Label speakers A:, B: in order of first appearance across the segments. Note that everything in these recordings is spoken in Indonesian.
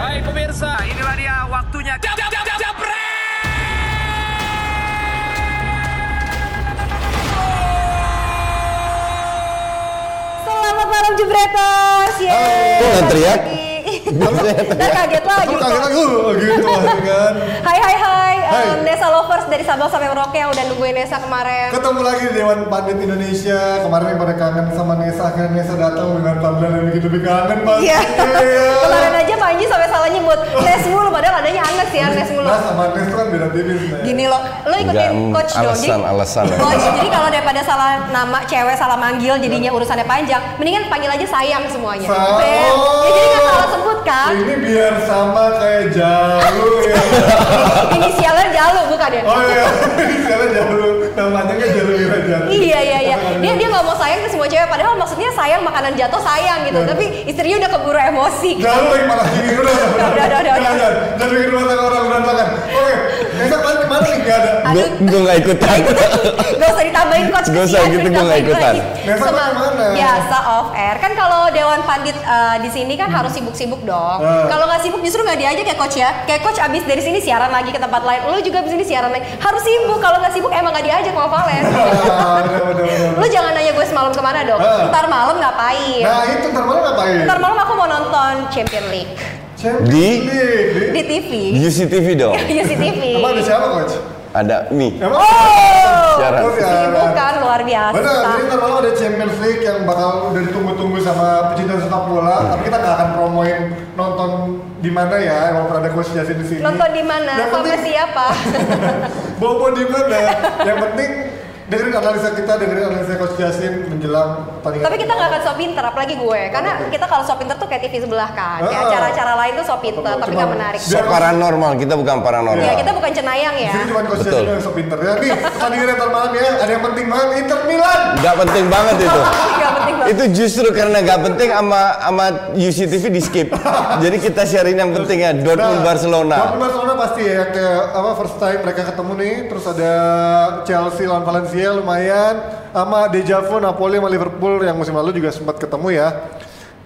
A: Hai pemirsa, inilah dia waktunya. Jap, jap, jap, japret!
B: Selamat malam Jebreters. Yeay.
C: Jangan teriak.
B: Ntar kaget lagi.
C: Aku
B: kok.
C: ya? kaget aku gitu aja kan.
B: Hai hai hai.
C: Hai.
B: Em, Nesa Lovers dari Sabang sampai Merauke yang udah nungguin Nesa kemarin.
C: Ketemu lagi di Dewan Pandit Indonesia. Kemarin yang pada kangen sama Nesa, akhirnya Nesa datang dengan tampilan yang bikin lebih kangen pasti.
B: Iya. Kemarin aja Panji sampai salah nyebut
C: Oh.
B: Nes mulu padahal adanya Anes ya, Nes mulu.
C: Nah sama Nes tuh kan beda tipis. Nes.
B: Gini loh, lo
D: Enggak,
B: ikutin
D: mm,
B: coach dong.
D: alasan,
B: Jadi-
D: alasan.
B: Coach, jadi kalau daripada salah nama cewek salah manggil jadinya
C: Iya.
B: urusannya panjang, mendingan panggil aja sayang semuanya.
C: Sa-
B: Beb. Ya, jadi nggak
C: Oh.
B: salah sebut kan?
C: Ini biar sama kayak jalur ya.
B: Inisialnya Jalu bukan ya?
C: Oh iya, ini sekarang jalur. Namanya kan jalur ya jalur.
B: Iya iya iya. Dia dia nggak mau sayang ke semua cewek. Padahal maksudnya sayang makanan jatuh sayang
D: Iya.
B: gitu. Tapi istrinya udah keburu emosi.
C: Jalur lagi malah gini udah.
B: Udah, udah, udah, udah.
C: Jangan, jangan. Jangan bikin rumah tangga orang berantakan. Oke, Nesa kemarin kemana nih? Gak ada.
B: Aduh.
D: gue gak ikutan
B: Gak usah ditambahin coach.
D: Gak usah
B: Kesian
D: gitu,
B: cerita
D: gua nggak
B: baik
D: ikutan.
B: lagi.
C: Besok
B: Sama-
C: ke mana?
B: Biasa off air. Kan kalau Dewan Pandit eh, di sini kan harus sibuk-sibuk dong.
C: Eh.
B: Kalau nggak sibuk justru nggak diajak ya coach ya. Kayak coach abis dari sini siaran lagi ke tempat lain. Lu juga abis ini siaran lagi. Harus sibuk. Kalau nggak sibuk emang nggak diajak sama Valen.
C: Ah, udah, udah, udah.
B: Lu jangan nanya gue semalam kemana dong.
C: Eh.
B: Ntar malam ngapain?
C: Nah itu ntar malam ngapain?
B: Ntar malam aku mau nonton Champion League
C: Champions
D: Di-
C: League. Di-
B: di TV.
D: Iya. UCTV dong
B: UCTV.
C: Emang ada siapa coach?
D: ada mie
C: Emang?
B: Oh,
D: Siaran.
C: Oh, siaran.
B: bukan luar biasa.
C: Benar, jadi ntar malam ada Champions League yang bakal udah ditunggu-tunggu sama pecinta sepak bola.
D: Hmm.
C: Tapi kita nggak akan promoin nonton di mana ya, walaupun ada coach Jasin di sini.
B: Nonton di mana?
C: Yang
B: Sama
C: penting
B: siapa?
C: bobo di mana? yang penting dengerin analisa kita, dengerin analisa coach Jasin menjelang pertandingan.
B: Tapi kita nggak akan sok pinter, apalagi gue. Karena kita kalau sok pinter tuh kayak TV sebelah kan. Kayak
C: Ah.
B: acara-acara lain tuh sok pinter, tapi nggak
C: Cuma-
B: menarik.
D: so paranormal kita bukan paranormal
B: Ya kita bukan cenayang
C: Di
B: ya.
C: sini cuma coach
D: Betul.
C: Jasin yang sok pinter. Ya, nih, pertandingan ntar malam ya, ada yang penting banget, Inter Milan.
B: Iya.
D: Gak penting banget itu
B: Nggak penting banget.
D: itu justru karena gak penting ama ama UCTV di skip jadi kita sharein yang penting ya Dortmund
C: Nah,
D: Barcelona
C: Dortmund Barcelona pasti ya kayak apa first time mereka ketemu nih, terus ada Chelsea lawan Valencia lumayan sama Deja Vu Napoli sama Liverpool yang musim lalu juga sempat ketemu ya.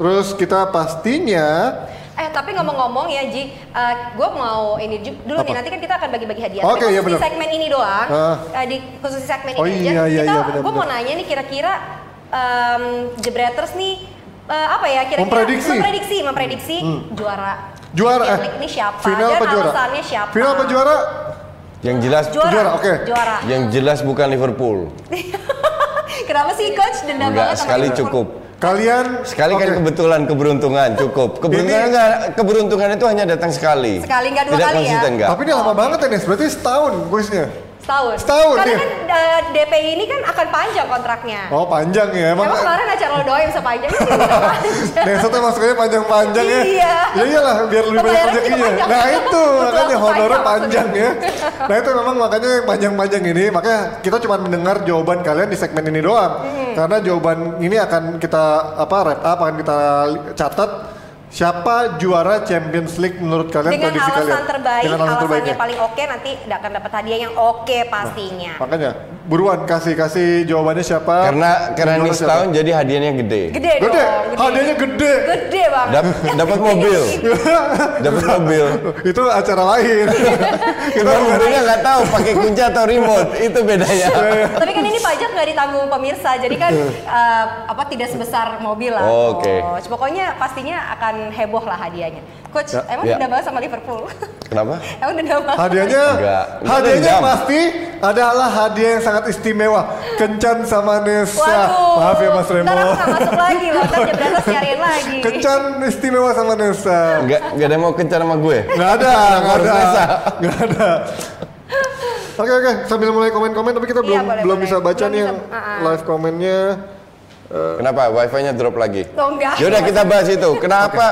C: Terus kita pastinya
B: Eh tapi ngomong-ngomong ya Ji, eh, gue mau ini ju- dulu nih nanti kan kita akan bagi-bagi hadiah.
C: Oke,
B: Tapi
C: iya
B: khusus di
C: bener.
B: segmen ini doang,
C: Ah.
B: eh, di khusus di segmen
C: Oh,
B: ini
C: iya,
B: aja.
C: iya,
B: kita,
C: iya, bener,
B: gue mau
C: bener.
B: nanya nih kira-kira em, Jebreters nih eh, apa ya kira-kira
C: Memprediksi. Hmm,
B: memprediksi, memprediksi juara.
C: juara
B: Champions
C: eh,
B: League ini siapa?
C: Final
B: Dan
C: apa juara?
B: alasannya siapa?
C: Final apa juara?
D: yang jelas
B: Juara.
C: Juara, oke.
B: Juara.
D: yang jelas bukan Liverpool
B: Kenapa sih coach dendam
D: enggak
B: banget sama
D: sekali
B: Liverpool?
D: cukup
C: Kalian
D: sekali kan
C: Oke.
D: kebetulan keberuntungan cukup keberuntungan
C: Ini-
D: enggak keberuntungan itu hanya datang sekali
B: Sekali, nggak dua
D: tidak
B: kali ya?
D: konsisten enggak
C: Tapi ini lama banget ya Nes, berarti setahun kuisnya.
B: Setahun.
C: Setahun,
B: Karena
C: iya.
B: kan eh, DPI ini kan akan panjang kontraknya.
C: Oh panjang ya emang.
B: Emang kemarin acara lo doain sepanjang itu panjang.
C: Nesa tuh masuknya panjang-panjang ya.
B: Iya.
C: Ya iyalah biar lebih banyak
B: Pembayarannya
C: rezekinya.
B: juga panjang.
C: Nah itu makanya
B: Betul,
C: honornya
B: panjang
C: panjang ya. Nah itu memang makanya yang panjang-panjang ini makanya kita cuma mendengar jawaban kalian di segmen ini doang.
B: Mm-hmm.
C: Karena jawaban ini akan kita apa wrap up akan kita li- catat siapa juara Champions League menurut kalian
B: Dengan
C: prediksi
B: alasan
C: kalian.
B: terbaik,
C: Dengan alasan
B: alasannya
C: terbaiknya. Nah,
B: paling oke nanti akan dapat hadiah yang oke pastinya.
C: Makanya buruan kasih kasih jawabannya siapa.
D: karena karena ini
C: eh, Menurut siapa.
D: setahun jadi hadiahnya gede
B: Gede,
C: Gede,
B: dong.
C: hadiahnya gede.
B: Gede banget.
D: Dap- dapat mobil dapat mobil
C: Itu acara lain.
D: Cuma mobilnya nggak tahu pakai kunci atau remote itu bedanya.
B: Tapi kan ini pajak nggak ditanggung pemirsa, jadi kan eh, apa tidak sebesar mobil lah.
D: Oh, oke.
B: Oh, pokoknya pastinya akan heboh lah hadiahnya. Coach, emang
D: Ya.
B: dendam banget sama Liverpool?
D: Kenapa?
B: emang dendam banget?
C: Hadiahnya,
D: Enggak.
C: hadiahnya
D: Enggak.
C: pasti adalah hadiah yang sangat istimewa. Kencan sama Nesa.
B: Waduh.
C: Maaf ya Mas Remo.
B: Ntar aku nggak masuk lagi loh, ntar jam berapa siarin lagi.
C: Kencan istimewa sama Nesa.
D: Nggak nggak ada yang mau kencan sama gue.
C: Nggak ada, nggak ada,
D: Nesa.
C: nggak ada. Oke oke, sambil mulai komen-komen tapi kita
B: Iya,
C: belum
B: boleh,
C: belum
B: boleh.
C: bisa baca
B: Belum
C: nih
B: bisa,
C: yang
B: uh-uh.
C: live komennya.
D: Kenapa? Wifi-nya drop lagi.
B: Oh, enggak.
D: Yaudah kita bahas itu. Kenapa?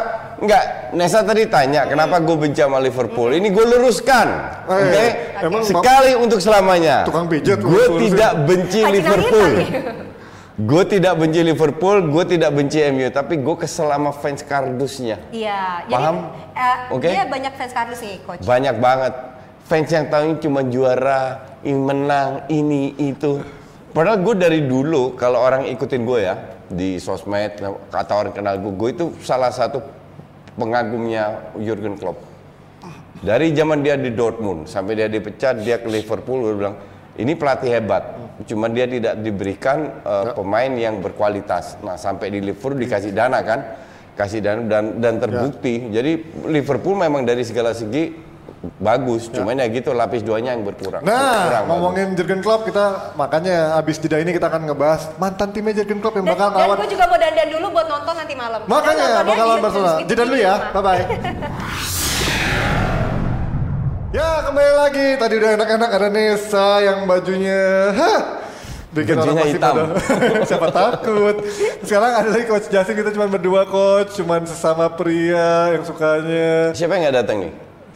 D: Enggak. Nesa tadi tanya kenapa gue benci sama Liverpool. Ini gue luruskan.
C: Eh,
D: Oke.
C: emang
D: Sekali untuk selamanya.
C: Tukang pijat lu
D: Gue
C: lurusin.
D: tidak benci
B: Haji
D: Liverpool.
B: Nangis lagi.
D: Gue tidak benci Liverpool, gue tidak benci MU, tapi gue kesel sama fans kardusnya.
B: Iya,
D: Paham?
B: jadi eh,
D: Oke.
B: dia banyak fans kardus nih coach.
D: Banyak banget fans yang tahunya cuma juara, ini menang, ini itu. Padahal gue dari dulu kalau orang ikutin gue ya di sosmed kata orang kenal gue, gue itu salah satu pengagumnya Jurgen Klopp. Dari zaman dia di Dortmund sampai dia dipecat, dia ke Liverpool, gue bilang ini pelatih hebat. Cuman dia tidak diberikan uh, pemain yang berkualitas. Nah sampai di Liverpool dikasih dana kan, kasih dana dan dan terbukti. Jadi Liverpool memang dari segala segi bagus. Cuman ya gitu lapis duanya yang berkurang. Kurang
C: Nah,
D: bagus.
C: ngomongin Jurgen Klopp kita makanya abis jeda ini kita akan ngebahas mantan timnya Jurgen Klopp yang
B: Dan,
C: bakal
B: dan
C: lawan.
B: gue juga mau dandan dulu buat nonton nanti malam.
C: Makanya ya,
B: Karena nontonnya
C: bakal lawan
B: di- Iya. gitu.
C: Barcelona.
B: di-
C: Jeda dulu ya.
B: di rumah.
C: Bye bye. ya, kembali lagi. Tadi udah enak-enak ada Nesa yang bajunya hah, bikin orang
D: Bajunya
C: pasti
D: hitam.
C: pada- siapa takut. Sekarang ada lagi coach Jasin kita cuma berdua coach, cuman sesama pria yang sukanya.
D: Siapa yang nggak datang nih?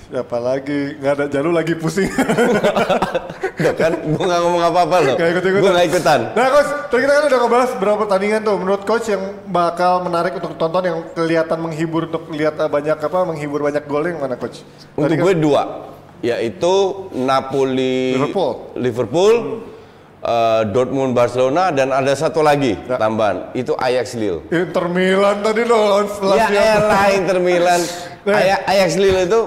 C: Siapa lagi? Nggak ada Jalu lagi pusing.
D: Tuh kan, gue nggak ngomong apa-apa loh.
C: Gak ikut ikutan.
D: Gue nggak ikutan.
C: Nah coach, tadi kita kan udah ngebahas berapa pertandingan tuh. Menurut coach yang bakal menarik untuk tonton yang kelihatan menghibur untuk lihat eh, banyak apa menghibur banyak gol yang mana coach?
D: Untuk
C: Tadi kan-
D: gue dua, yaitu Napoli,
C: Liverpool.
D: Liverpool, eh, Dortmund, Barcelona, dan ada satu lagi
C: Ya.
D: tambahan, itu Ajax Lille.
C: Inter Milan tadi loh lawan
D: Ya
C: Lazio.
D: elah Inter Milan,
C: Nah.
D: Aj- Ajax Lille itu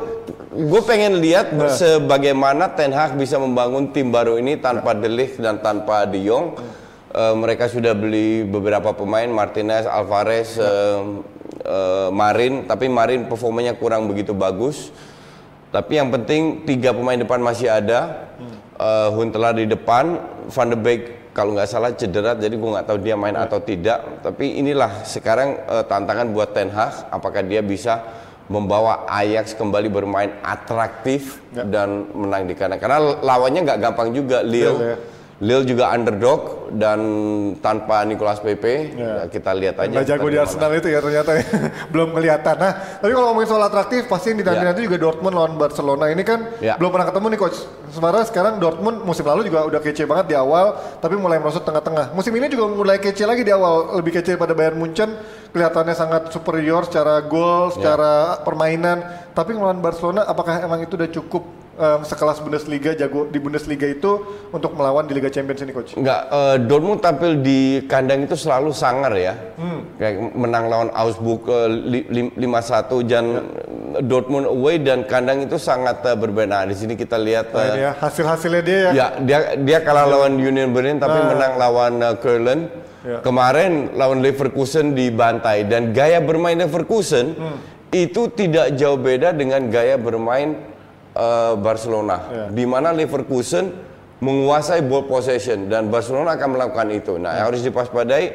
D: gue pengen lihat sebagaimana Ten Hag bisa membangun tim baru ini tanpa
C: Nah.
D: De Ligt dan tanpa De Jong.
C: Hmm.
D: Eh, mereka sudah beli beberapa pemain Martinez, Alvarez,
C: Nah.
D: eh, eh, Marin, tapi Marin performanya kurang begitu bagus. Tapi yang penting tiga pemain depan masih ada.
C: Hmm.
D: Eh, Huntelaar di depan, Van de Beek kalau nggak salah cedera, jadi gue nggak tahu dia main
C: Hmm.
D: atau tidak. Tapi inilah sekarang eh, tantangan buat Ten Hag, apakah dia bisa membawa Ajax kembali bermain atraktif
C: Ya.
D: dan menang di kandang. Karena lawannya nggak gampang juga,
C: Lille, ya.
D: Lille. Lille juga underdog dan tanpa Nicolas Pepe,
C: Ya.
D: nah, kita lihat aja.
C: Nggak jago
D: ntar
C: di
D: gimana.
C: Arsenal itu ya ternyata ya. belum kelihatan. Nah, tapi kalau ngomongin soal atraktif pasti yang ditandai
D: Ya.
C: nanti juga Dortmund lawan Barcelona ini kan
D: Ya.
C: belum pernah ketemu nih coach. Sementara sekarang Dortmund musim lalu juga udah kece banget di awal, tapi mulai merosot tengah-tengah. Musim ini juga mulai kece lagi di awal, lebih kece pada Bayern Munchen. Kelihatannya sangat superior secara
D: Ya.
C: gol, secara permainan. Tapi ngelawan Barcelona, apakah emang itu udah cukup eh, sekelas Bundesliga jago di Bundesliga itu untuk melawan di Liga Champions ini coach?
D: Enggak, eh, Dortmund tampil di kandang itu selalu sangar ya.
C: Hmm.
D: Kayak menang lawan Augsburg eh, li- lim- 5-1 dan
C: Ya.
D: eh, Dortmund away dan kandang itu sangat eh, berbeda. Nah, di sini kita lihat
C: Nah,
D: eh,
C: ini ya, hasil-hasilnya dia ya.
D: ya dia dia kalah lawan Union Berlin tapi menang lawan eh, Köln.
C: Nah. Ya.
D: Kemarin lawan Leverkusen dibantai dan gaya bermain Leverkusen
C: Hmm.
D: itu tidak jauh beda dengan gaya bermain eh,
C: Ya.
D: Barcelona. Di mana Leverkusen menguasai ball possession dan Barcelona akan melakukan itu. Nah, harus dipaspadai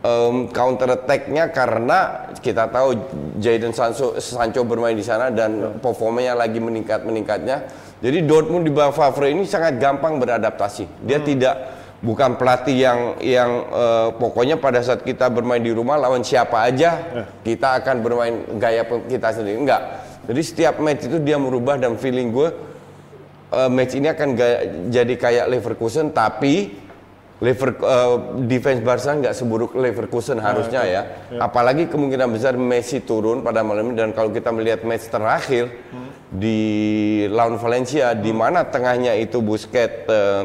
D: em, counter attack-nya karena kita tahu Jadon Sancho, Sancho bermain di sana dan performanya lagi meningkat meningkatnya. Jadi Dortmund di bawah Favre ini sangat gampang beradaptasi. Dia tidak bukan pelatih yang yang eh, pokoknya pada saat kita bermain di rumah lawan siapa aja kita akan bermain gaya pe- kita sendiri. Enggak. Jadi setiap match itu dia merubah dan feeling gue eh, match ini akan ga- jadi kayak Leverkusen tapi Lever eh, defense Barcelona nggak seburuk Leverkusen harusnya ya. Apalagi kemungkinan besar Messi turun pada malam ini dan kalau kita melihat match terakhir di lawan Valencia di mana tengahnya itu Busquets eh,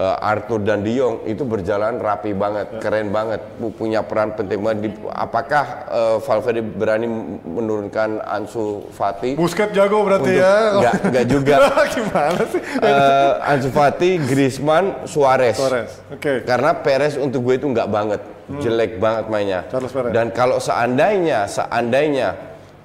D: eh, Arthur dan De Jong itu berjalan rapi banget, keren banget, pu- punya peran penting banget. Di- apakah eh, Valverde berani menurunkan Ansu Fati?
C: Busket jago berarti
D: Untuk-
C: ya.
D: nggak- nggak juga.
C: Gimana sih?
D: eh Ansu Fati, Griezmann, Suarez.
C: Torres. Oke.
D: Karena Perez untuk gue itu nggak banget, jelek banget mainnya.
C: Carlos Perez.
D: Dan kalau seandainya, seandainya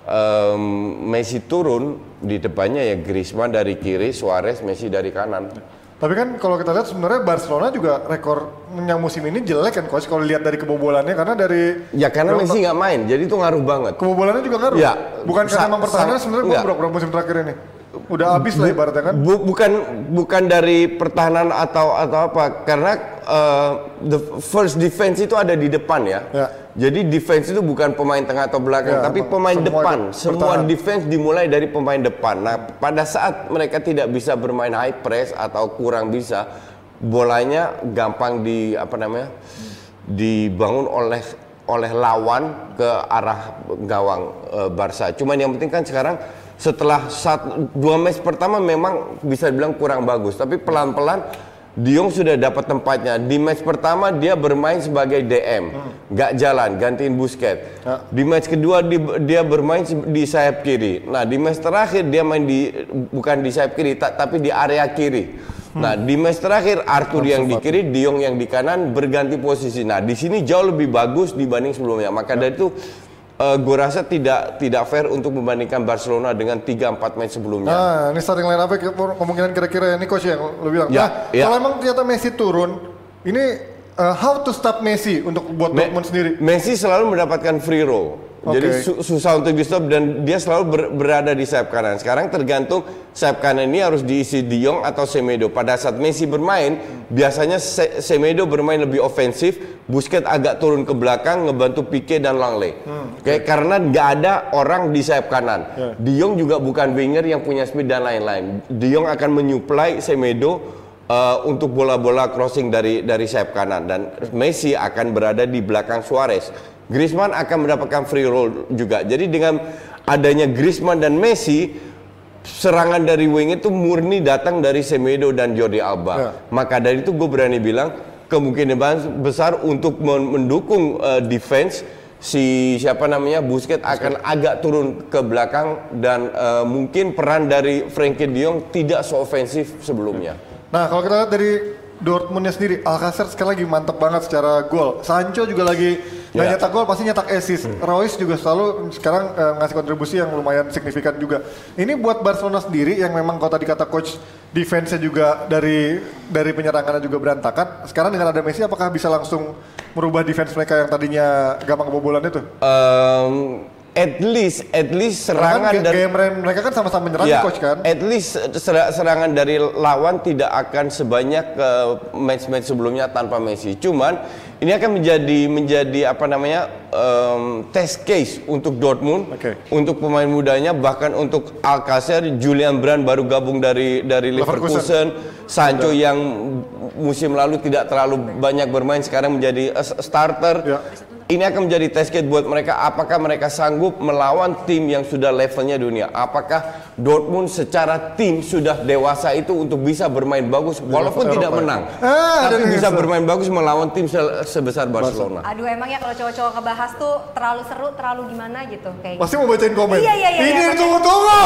D: em, Messi turun di depannya ya Griezmann dari kiri, Suarez, Messi dari kanan.
C: Tapi kan kalau kita lihat sebenarnya Barcelona juga rekor yang musim ini jelek kan coach kalau lihat dari kebobolannya karena dari
D: Ya karena
C: Berapa-
D: Messi nggak main, jadi itu ngaruh banget.
C: kebobolannya juga ngaruh.
D: Ya.
C: Bukan karena
D: Sa-
C: memang pertahanan
D: sa- ya.
C: sebenarnya
D: enggak.
C: bobrok musim terakhir ini. Udah habis lah ibaratnya kan.
D: Bu- bukan bukan dari pertahanan atau atau apa karena eh, the first defense itu ada di depan ya.
C: Ya.
D: Jadi defense itu bukan pemain tengah atau belakang,
C: Ya,
D: tapi
C: emang
D: pemain
C: semua
D: depan.
C: de-
D: Semua
C: bertahan.
D: defense dimulai dari pemain depan. Nah, pada saat mereka tidak bisa bermain high press atau kurang bisa, bolanya gampang di apa namanya? dibangun oleh oleh lawan ke arah gawang eh, Barca. Cuman yang penting kan sekarang setelah satu, dua match pertama memang bisa dibilang kurang bagus, tapi pelan-pelan De Jong sudah dapat tempatnya. Di match pertama dia bermain sebagai DM, nggak jalan, gantiin Busquets.
C: Ya.
D: Di match kedua di- dia bermain se- di sayap kiri. Nah di match terakhir dia main di bukan di sayap kiri, ta- tapi di area kiri. Nah di match terakhir Arthur yang di kiri, De Jong yang di kanan berganti posisi. Nah di sini jauh lebih bagus dibanding sebelumnya. Maka dari itu gue rasa tidak tidak fair untuk membandingkan Barcelona dengan 3-4 match sebelumnya.
C: Nah, ini starting line up kemungkinan kira-kira ini coach yang lu bilang.
D: Ya,
C: nah,
D: ya.
C: kalau emang ternyata Messi turun, ini uh, how to stop Messi untuk buat
D: Me-
C: Dortmund sendiri.
D: Messi selalu mendapatkan free roll.
C: Oke.
D: Jadi su- susah untuk di stop dan dia selalu ber- berada di sayap kanan. Sekarang tergantung sayap kanan ini harus diisi De Jong atau Semedo. Pada saat Messi bermain, biasanya Se- Semedo bermain lebih ofensif, Busquets agak turun ke belakang ngebantu Pique dan Langley.
C: Hmm,
D: Oke, karena nggak ada orang di sayap kanan.
C: Ya.
D: De Jong juga bukan winger yang punya speed dan lain-lain. De Jong akan menyuplai Semedo eh, untuk bola-bola crossing dari dari sayap kanan dan Messi akan berada di belakang Suarez. Griezmann akan mendapatkan free roll juga. Jadi dengan adanya Griezmann dan Messi serangan dari wing itu murni datang dari Semedo dan Jordi Alba.
C: Ya.
D: Maka dari itu gue berani bilang kemungkinan bas- besar untuk men- mendukung eh, defense si siapa namanya Busquets akan agak turun ke belakang dan eh, mungkin peran dari Frankie De Jong tidak seofensif sebelumnya.
C: Nah, kalau kita lihat dari Dortmundnya sendiri, Alcacer sekali lagi mantep banget secara gol. Sancho juga lagi nggak
D: Ya. Hmm.
C: nyetak gol, pasti nyetak assist. Royce juga selalu sekarang eh, ngasih kontribusi yang lumayan signifikan juga. Ini buat Barcelona sendiri yang memang kalau tadi kata coach defense-nya juga dari dari penyerangannya juga berantakan. Sekarang dengan ada Messi, apakah bisa langsung merubah defense mereka yang tadinya gampang kebobolan itu?
D: Eh, Em, at least at least
C: Karena
D: serangan
C: kan
D: dari
C: gaya mereka- mereka kan sama-sama menyerang
D: Ya,
C: nih, coach kan?
D: At least ser- serangan dari lawan tidak akan sebanyak ke match-match sebelumnya tanpa Messi. Cuman ini akan menjadi menjadi apa namanya em, test case untuk Dortmund,
C: Oke.
D: untuk pemain mudanya, bahkan untuk Alcacer, Julian Brand baru gabung dari dari
C: Leverkusen.
D: Leverkusen, Sancho yang musim lalu tidak terlalu banyak bermain sekarang menjadi eh, starter.
C: Ya.
D: Ini akan menjadi test case buat mereka apakah mereka sanggup melawan tim yang sudah levelnya dunia. Apakah Dortmund secara tim sudah dewasa itu untuk bisa bermain bagus walaupun
C: level
D: tidak
C: Eropa ya?
D: menang.
C: Ah, ada
D: tapi
C: yang
D: bisa
C: ngesel.
D: bermain bagus melawan tim se- sebesar Barcelona.
B: Aduh emang ya kalau cowok-cowok kebahas tuh terlalu seru, terlalu gimana gitu kayaknya.
C: Pasti mau bacain komen.
B: Iya, iya, iya,
C: Ini
B: iya.
C: tunggu-tunggu.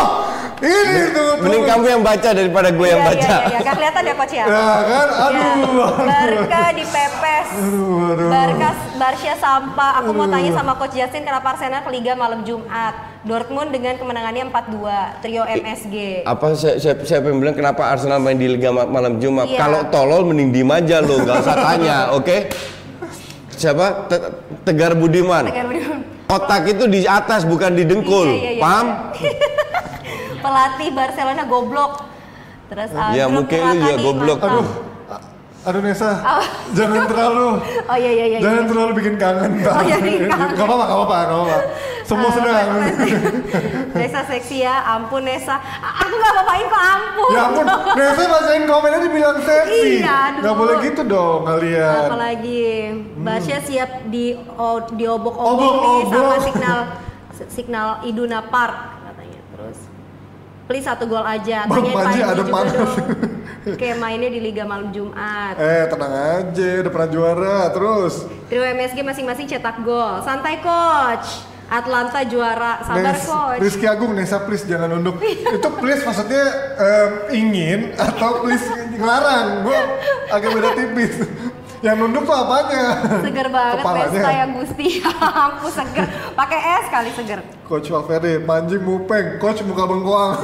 C: Ini tunggu-tunggu.
D: Mending kamu yang baca daripada gue yang baca.
B: Iya, iya, iya. Gak kelihatan ya coach ya?
C: Ya kan, aduh.
B: Ya, Barca dipepes.
C: aduh.
B: Barca Barca sampah. Aku mau tanya sama coach Justin kenapa Arsenal ke Liga malam Jumat. Dortmund dengan kemenangannya 4-2 trio MSG.
D: apa saya- saya- siapa yang bilang kenapa Arsenal main di Liga Ma- malam Jumat?
B: Iya.
D: Kalau tolol mending diem aja lo, nggak usah tanya, oke? Siapa? Te- Tegar Budiman.
B: Tegar Budiman.
D: Otak itu di atas bukan di dengkul,
B: Iya, iya, iya,
D: paham?
B: Pelatih Barcelona goblok. Terus
C: Iya,
B: uh,
D: Ya,
B: grup
D: mungkin lu juga
B: Murakami
D: goblok.
B: mantap.
C: Aduh. a- Aduh Nesa, jangan terlalu
B: Oh iya iya iya.
C: jangan terlalu bikin kangen.
B: Oh, iya, Ah, bikin kangen.
C: Gak apa-apa, gak apa-apa, gak apa-apa. Semua sudah kangen.
B: Nesa seksi ya, ampun Nesa. A- Aku gak apa-apain kok, ampun.
C: Ya ampun, Nesa bacain komennya dibilang seksi.
B: Iya, aduh.
C: Gak boleh gitu dong kalian.
B: Apalagi Basya
C: Hmm.
B: siap di o- diobok-obok nih
C: Obok-obok.
B: sama signal signal Iduna Park katanya terus. Please satu gol aja.
C: Bang
B: Tanyain
C: Panji ada
B: juga
C: panas.
B: dong. Oke, mainnya di Liga Malam Jumat.
C: Eh tenang aja, udah pernah juara terus.
B: Trio MSG masing-masing cetak gol. Santai coach. Atlanta juara. Sabar
C: Nes-
B: coach. Iya.
C: Rizky Agung, Nesa please jangan nunduk. Itu please maksudnya em, ingin atau please ngelarang. Gue agak beda tipis. Yang nunduk tuh apanya?
B: seger banget ya,
C: Kepalanya.
B: Pesta yang Gusti aku seger pakai es kali seger
C: Coach Valverde, manji mupeng, coach muka bengkoang.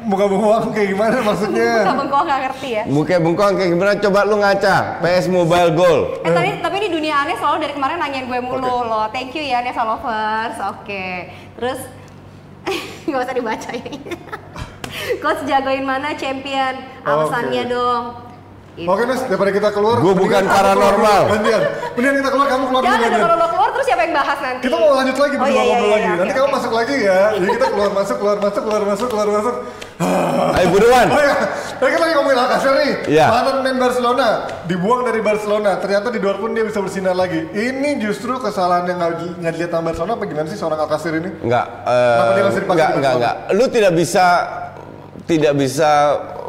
C: muka bengkoang kayak gimana maksudnya?
B: yeah. kamu kok nggak ngerti ya
D: Muka bengkong kayak gimana? Coba lu ngaca. PS Mobile Goal.
B: eh tapi tapi ini dunia aneh selalu dari kemarin nanyain gue mulu loh thank you ya Neva lovers oke terus nggak usah dibaca ya coach jagoin mana champion alasannya
C: Oke.
B: dong Gitu. Itu.
C: Oke Nes, daripada kita keluar.
D: Gua bukan
C: mendingan kamu keluar dulu,
D: paranormal.
C: Gantian, mendingan kita keluar, kamu keluar
B: jangan ada
C: dulu gantian.
B: Ya, kalau lo keluar terus siapa yang bahas nanti
C: Kita mau lanjut
B: oh,
C: lagi,
B: iya,
C: berdua
B: iya, iya,
C: ngobrol lagi.
B: oke,
C: Nanti kamu
B: oke.
C: masuk lagi ya. Jadi kita keluar masuk, keluar masuk, keluar masuk, keluar masuk.
D: Ayo buruan.
C: Oh ya, tadi kan lagi ngomongin Alcacer nih.
D: Iya.
C: Mantan pemain Barcelona, dibuang dari Barcelona. Ternyata di Dortmund dia bisa bersinar lagi. Ini justru kesalahan yang nggak nggak dilihat sama Barcelona apa gimana sih seorang Alcacer ini?
D: Enggak, eh,
C: Kenapa dia masih
D: enggak,
C: dipakai di
D: enggak,
C: Barcelona?
D: enggak. Lu tidak bisa tidak bisa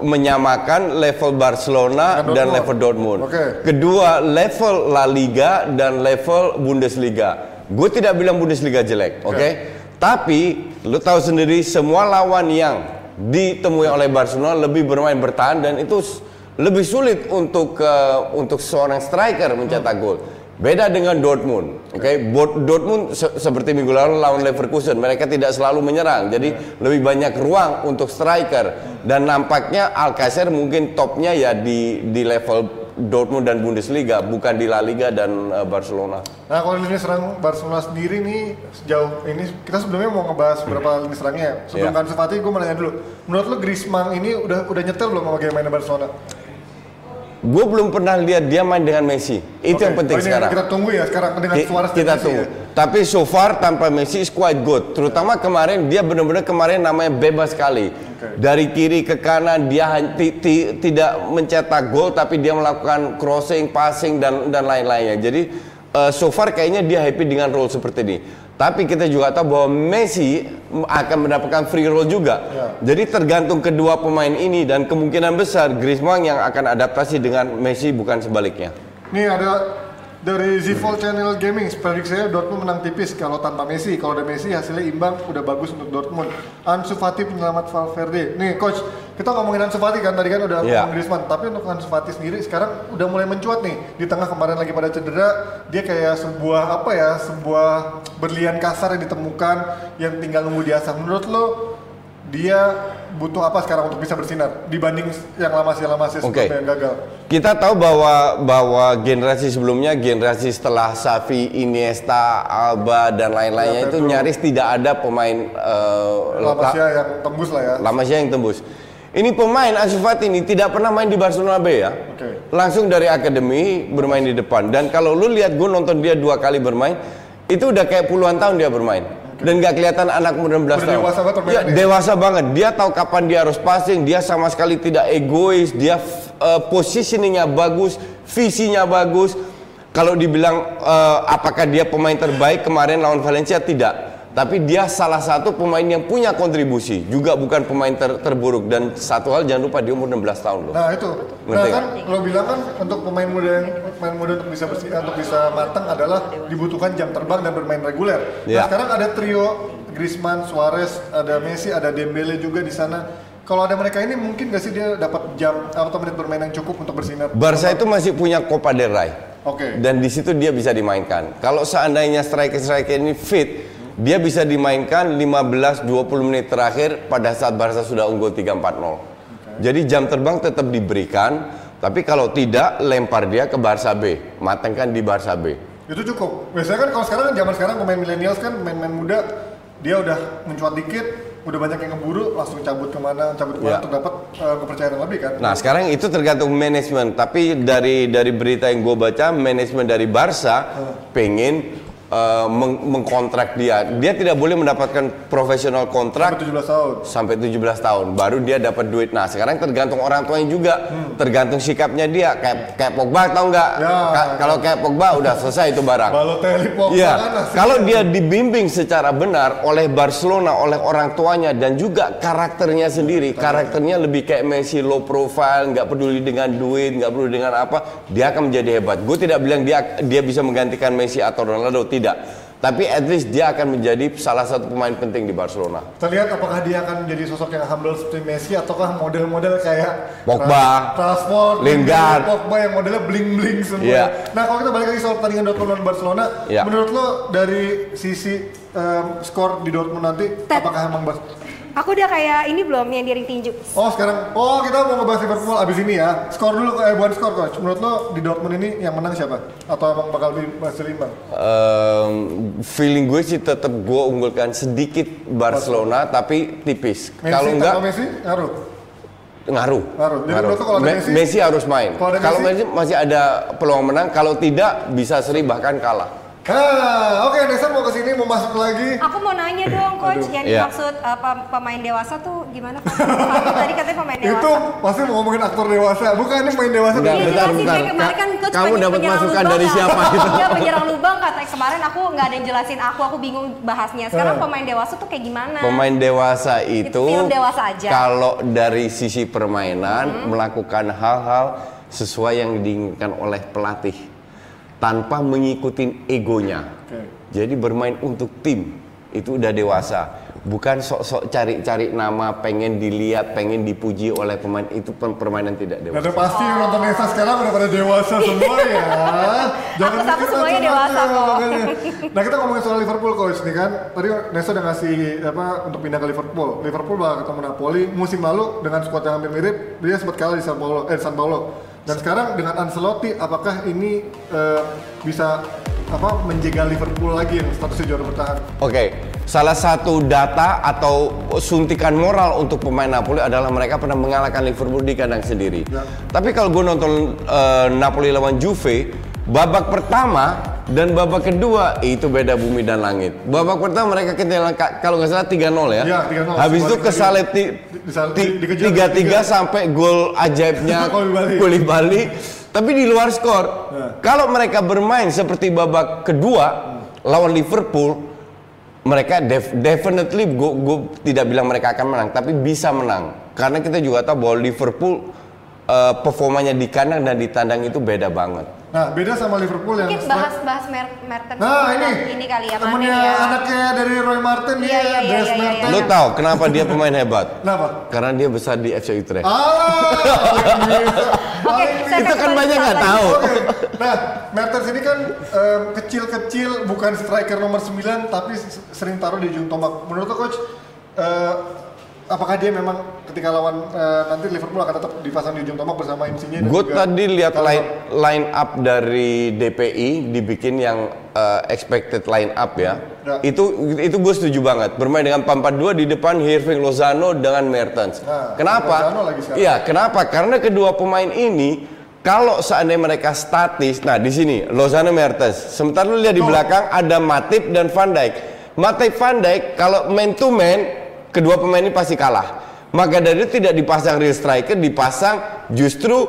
D: menyamakan level Barcelona
C: Dengan
D: dan
C: Dortmund.
D: level Dortmund.
C: Oke.
D: Kedua, level La Liga dan level Bundesliga. Gue tidak bilang Bundesliga jelek, oke? Tapi lu tahu sendiri semua lawan yang ditemui oleh Barcelona lebih bermain bertahan dan itu s- lebih sulit untuk eh, untuk seorang striker mencetak
C: Hmm.
D: gol. Beda dengan Dortmund, oke? Bo- Dortmund se- seperti minggu lalu lawan Leverkusen, mereka tidak selalu menyerang,
C: Ya.
D: jadi lebih banyak ruang untuk striker dan nampaknya Alcacer mungkin topnya ya di di level Dortmund dan Bundesliga, bukan di La Liga dan eh, Barcelona.
C: Nah kalau lini serang Barcelona sendiri nih sejauh ini kita sebelumnya mau ngebahas berapa lini serangnya. ya. Sebelum
D: Iya.
C: Ansu Fati gue mau nanya dulu. Menurut lo Griezmann ini udah udah nyetel belum sama game mainnya Barcelona?
D: Gue belum pernah lihat dia main dengan Messi. Itu
C: Oke.
D: yang penting
C: Oh, ini
D: sekarang.
C: Kita tunggu ya sekarang dengan
D: Ki-
C: suara
D: kita tunggu.
C: ya?
D: Tapi so far tanpa Messi is quite good. Terutama kemarin dia benar-benar kemarin namanya bebas sekali. Dari kiri ke kanan dia han- ti- ti- tidak mencetak gol tapi dia melakukan crossing, passing dan dan lain-lainnya. Jadi eh, so far kayaknya dia happy dengan role seperti ini. Tapi kita juga tahu bahwa Messi akan mendapatkan free roll juga. Jadi tergantung kedua pemain ini dan kemungkinan besar Griezmann yang akan adaptasi dengan Messi bukan sebaliknya.
C: Nih ada dari Zivol Channel Gaming, prediksi saya Dortmund menang tipis kalau tanpa Messi. Kalau ada Messi hasilnya imbang, udah bagus untuk Dortmund. Ansu Fati penyelamat Valverde. Nih coach, kita ngomongin Ansu Fati kan tadi kan udah
D: Iya.
C: ngomongin Griezmann, tapi untuk Ansu Fati sendiri sekarang udah mulai mencuat nih. Di tengah kemarin lagi pada cedera, dia kayak sebuah apa ya, sebuah berlian kasar yang ditemukan yang tinggal nunggu diasah. Menurut lo dia butuh apa sekarang untuk bisa bersinar dibanding yang lama sih lama sih
D: Oke.
C: sebelumnya yang gagal.
D: Kita tahu bahwa bahwa generasi sebelumnya, generasi setelah Xavi, Iniesta, Alba dan
C: Ya,
D: lain-lainnya itu
C: betul.
D: nyaris tidak ada pemain eh,
C: Lama
D: la-
C: sih yang tembus lah ya.
D: Lama Syah yang tembus. Ini pemain Ansu Fati ini tidak pernah main di Barcelona B ya.
C: Oke.
D: Langsung dari akademi bermain di depan. Dan kalau lu lihat gue nonton dia dua kali bermain, itu udah kayak puluhan tahun dia bermain. Dan gak kelihatan anak muda 16
C: Udah
D: tahun.
C: dewasa banget
D: ya,
C: permainannya.
D: dewasa banget. Dia tahu kapan dia harus passing. Dia sama sekali tidak egois. Dia eh, positioningnya bagus, visinya bagus. Kalau dibilang eh, apakah dia pemain terbaik kemarin lawan Valencia tidak. Tapi dia salah satu pemain yang punya kontribusi. Juga bukan pemain ter- terburuk. Dan satu hal jangan lupa dia umur 16 tahun loh.
C: Nah itu, nah
D: Penting.
C: kan lo bilang kan untuk pemain muda yang pemain muda untuk bisa bersih, untuk bisa matang adalah dibutuhkan jam terbang dan bermain reguler. Nah
D: Iya.
C: sekarang ada trio Griezmann, Suarez, ada Messi, ada Dembele juga di sana. Kalau ada mereka ini mungkin gak sih dia dapat jam atau menit bermain yang cukup untuk bersinar?
D: Barca itu masih punya Copa del Rey.
C: Oke.
D: dan di situ dia bisa dimainkan. Kalau seandainya striker-striker ini fit, dia bisa dimainkan 15-20 menit terakhir pada saat Barca sudah unggul 3-4-0. Jadi jam terbang tetap diberikan, tapi kalau tidak lempar dia ke Barca B, matangkan di Barca B.
C: Itu cukup. Biasanya kan kalau sekarang zaman sekarang pemain milenials kan pemain-pemain muda dia udah mencuat dikit, udah banyak yang keburu langsung cabut kemana, cabut
D: Iya.
C: kemana untuk dapat eh, kepercayaan lebih kan?
D: Nah sekarang itu tergantung manajemen. Tapi dari dari berita yang gue baca, manajemen dari Barca pengen eh, meng- mengkontrak dia. Dia tidak boleh mendapatkan profesional kontrak
C: Sampai 17 tahun.
D: sampai 17 tahun baru dia dapat duit. Nah, sekarang tergantung orang tuanya juga, tergantung sikapnya dia. Kayak kayak Pogba tau nggak?
C: Hmm. Ya.
D: Ka- Kalau kayak Pogba udah selesai itu barang.
C: Balotelli Pogba
D: Iya,
C: kan asik.
D: kalau dia dibimbing secara benar oleh Barcelona, oleh orang tuanya dan juga karakternya sendiri, karakternya lebih kayak Messi low profile, nggak peduli dengan duit, nggak peduli dengan apa, dia akan menjadi hebat. Gue tidak bilang dia dia bisa menggantikan Messi atau Ronaldo tidak. Tapi at least dia akan menjadi salah satu pemain penting di Barcelona.
C: Kita lihat apakah dia akan menjadi sosok yang humble seperti Messi ataukah model-model kayak
D: Pogba,
C: Transport,
D: Lingard.
C: Pogba yang modelnya bling-bling semua.
D: Iya.
C: Nah, kalau kita balik lagi soal pertandingan Dortmund lawan Barcelona,
D: Iya.
C: menurut lo dari sisi em, skor di Dortmund nanti
B: Tet.
C: apakah emang Bar-
B: Aku udah kayak ini belum yang di ring tinju.
C: Oh, sekarang oh kita mau ngebahas Liverpool abis ini ya. Skor dulu eh bukan skor coach. Menurut lo di Dortmund ini yang menang siapa? Atau emang bakal di hasil imbang?
D: Ehm, feeling gue sih tetap gue unggulkan sedikit Barcelona tapi tipis.
C: Messi
D: Kalau
C: tanpa
D: enggak
C: Messi ngaruh.
D: ngaruh.
C: Ngaruh. Jadi menurut lo kalau ada
D: Me-
C: Messi-
D: harus main.
C: Kalau ada
D: Kalau
C: Messi-
D: Messi masih ada peluang menang, kalau tidak bisa seri bahkan kalah.
C: Ah, oke, Nestor mau kesini mau masuk lagi.
B: Aku mau nanya dong coach, yang
D: Iya.
B: dimaksud uh, pem- pemain dewasa tuh gimana? Pak? Pak, tadi katanya pemain dewasa.
C: Itu pasti mau ngomongin aktor dewasa, bukan ini main dewasa.
E: Enggak,
B: Iya,
E: bentar,
B: jelasin,
E: bentar.
B: dia Kemarin kan coach
E: Kamu
B: pengen
E: dapat
B: penyerang
E: masukan
B: lubang
E: dari
B: kan?
E: siapa gitu?
B: Iya, penyerang lubang katanya kemarin aku nggak ada yang jelasin aku, aku bingung bahasnya. Sekarang
C: Eh.
B: pemain dewasa tuh kayak gimana?
D: Pemain dewasa itu,
B: Itu film dewasa aja.
D: kalau dari sisi permainan melakukan hal-hal sesuai yang diinginkan oleh pelatih tanpa mengikuti egonya. Jadi bermain untuk tim itu udah dewasa, bukan sok-sok cari-cari nama, pengen dilihat, pengen dipuji oleh pemain itu per- permainan tidak
C: Dan udah
D: dewasa.
C: pasti yang nonton Nesta sekarang udah pada dewasa semua ya.
B: Aku sama
C: mikir
B: semuanya
C: macam-macam,
B: dewasa kok.
C: makanya. Nah kita ngomongin soal Liverpool coach nih kan. Tadi Nesta udah ngasih apa untuk pindah ke Liverpool. Liverpool bakal ketemu Napoli musim lalu dengan skuad yang hampir mirip dia sempat kalah di San Paulo. Eh, San Paulo. Dan sekarang dengan Ancelotti apakah ini eh, bisa apa menjaga Liverpool lagi yang statusnya juara bertahan?
D: Oke, salah satu data atau suntikan moral untuk pemain Napoli adalah mereka pernah mengalahkan Liverpool di kandang sendiri.
C: Ya.
D: Tapi kalau gue nonton eh, Napoli lawan Juve, babak pertama dan babak kedua itu beda bumi dan langit. Babak pertama mereka ketinggalan ka- kalau nggak salah 3-0 ya.
C: Iya, 3-0.
D: Habis itu
C: Balik lagi.
D: kesalip ti-
C: Disal-
D: ti-
C: dikejar
D: 3-3 sampai gol ajaibnya
C: Koulibaly.
D: Koulibaly. Tapi di luar skor. Kalau mereka bermain seperti babak kedua lawan Liverpool, mereka def- definitely gue tidak bilang mereka akan menang tapi bisa menang karena kita juga tahu bahwa Liverpool eh, performanya di kandang dan di tandang itu beda banget
C: Nah beda sama Liverpool yang
B: Mungkin bahas bahas Mer- Mertens
C: Nah
B: kemarin.
C: ini,
B: ini kali ya mana
C: temennya
B: ya.
C: anaknya dari Roy Martin
B: Iya,
C: dia,
B: iya, iya,
C: Dres
B: iya, iya,
C: Mertens.
D: lo tahu kenapa dia pemain hebat
C: Kenapa? Ah,
D: karena dia besar di FC Utrecht
B: Oke, saya kasih
E: Kita kan
B: tahu
E: banyak nggak
B: lagi.
E: tahu.
C: Oke. Nah, Mertens ini kan em, kecil-kecil, bukan striker nomor 9 tapi s- sering taruh di ujung tombak. Menurut lo, coach, eh, apakah dia memang ketika lawan eh, nanti Liverpool akan tetap dipasang di ujung tombak bersama MC-nya? dan
D: gue
C: juga
D: tadi lihat
C: Carvajal?
D: line line up dari DPI dibikin yang eh, expected line up ya
C: Ya.
D: itu itu gue setuju banget bermain dengan Pampa 2 di depan Irving Lozano dengan Mertens
C: Nah, Lozano
D: kenapa
C: lagi sekarang.
D: iya kenapa karena kedua pemain ini kalau seandainya mereka statis nah di sini Lozano Mertens sementara lu lihat di belakang ada Matip dan Van Dijk Matip Van Dijk kalau man to man kedua pemain ini pasti kalah maka dari itu tidak dipasang real striker dipasang justru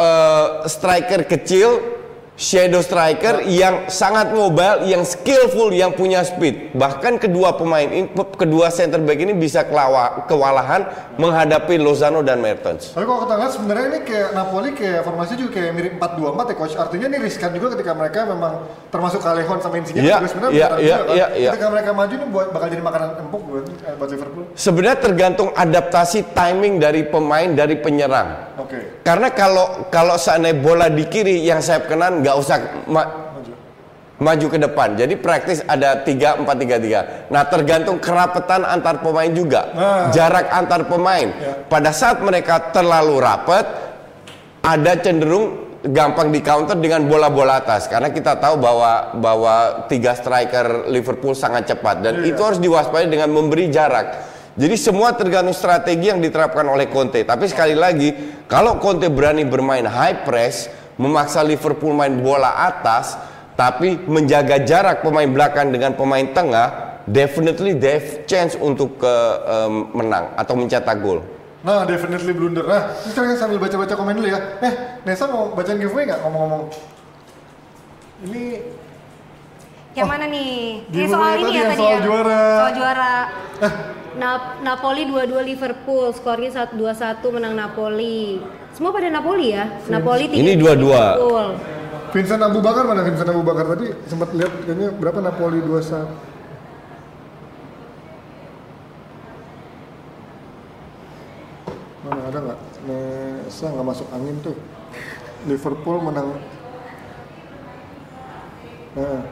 D: eh, striker kecil shadow striker yang sangat mobile, yang skillful, yang punya speed. Bahkan kedua pemain ini pe- kedua center back ini bisa kelawa- kewalahan menghadapi Lozano dan Mertens.
C: Tapi kalau kita lihat sebenarnya ini kayak Napoli kayak formasinya juga kayak mirip 4-2-4 ya coach. Artinya ini riskan juga ketika mereka memang termasuk Callejon sama Insigne
D: Iya,
C: juga sebenarnya
D: iya,
C: veteran
D: iya,
C: juga kan.
D: iya, iya.
C: Ketika mereka maju ini buat bakal jadi makanan empuk buat eh, buat Liverpool.
D: Sebenarnya tergantung adaptasi timing dari pemain dari penyerang.
C: Oke.
D: Karena kalau kalau seandainya bola di kiri yang sayap kanan nggak usah ma-
C: maju.
D: maju ke depan. Jadi praktis ada 3 4 3 3. Nah, tergantung kerapetan antar pemain juga.
C: Nah.
D: Jarak antar pemain. Pada saat mereka terlalu rapat ada cenderung gampang di counter dengan bola-bola atas karena kita tahu bahwa bahwa tiga striker Liverpool sangat cepat dan itu harus diwaspadai dengan memberi jarak. Jadi semua tergantung strategi yang diterapkan oleh Conte. Tapi sekali lagi, kalau Conte berani bermain high press, memaksa Liverpool main bola atas, tapi menjaga jarak pemain belakang dengan pemain tengah, definitely they have chance untuk eh, em, menang atau mencetak gol.
C: Nah, definitely blunder. Nah, ini sekarang sambil baca-baca komen dulu ya. Eh, Nesa mau bacain giveaway nggak ngomong-ngomong? Ini
B: Yang mana nih?
C: Oh, di
B: Yang soal
C: rumah
B: ini
C: tadi
B: ya
C: yang
B: tadi
C: soal
B: ya?
C: juara. Eh.
B: Soal juara.
F: Na- Napoli 2-2 Liverpool, skornya 1-2-1 menang Napoli. Semua pada Napoli ya? Napoli 3
D: Ini dua-dua.
F: Liverpool.
C: Vincent Abu Bakar mana Vincent Abu Bakar tadi sempat lihat kayaknya berapa Napoli 21. Mana ada nggak? Nesa nggak masuk angin tuh. Liverpool menang. Nah.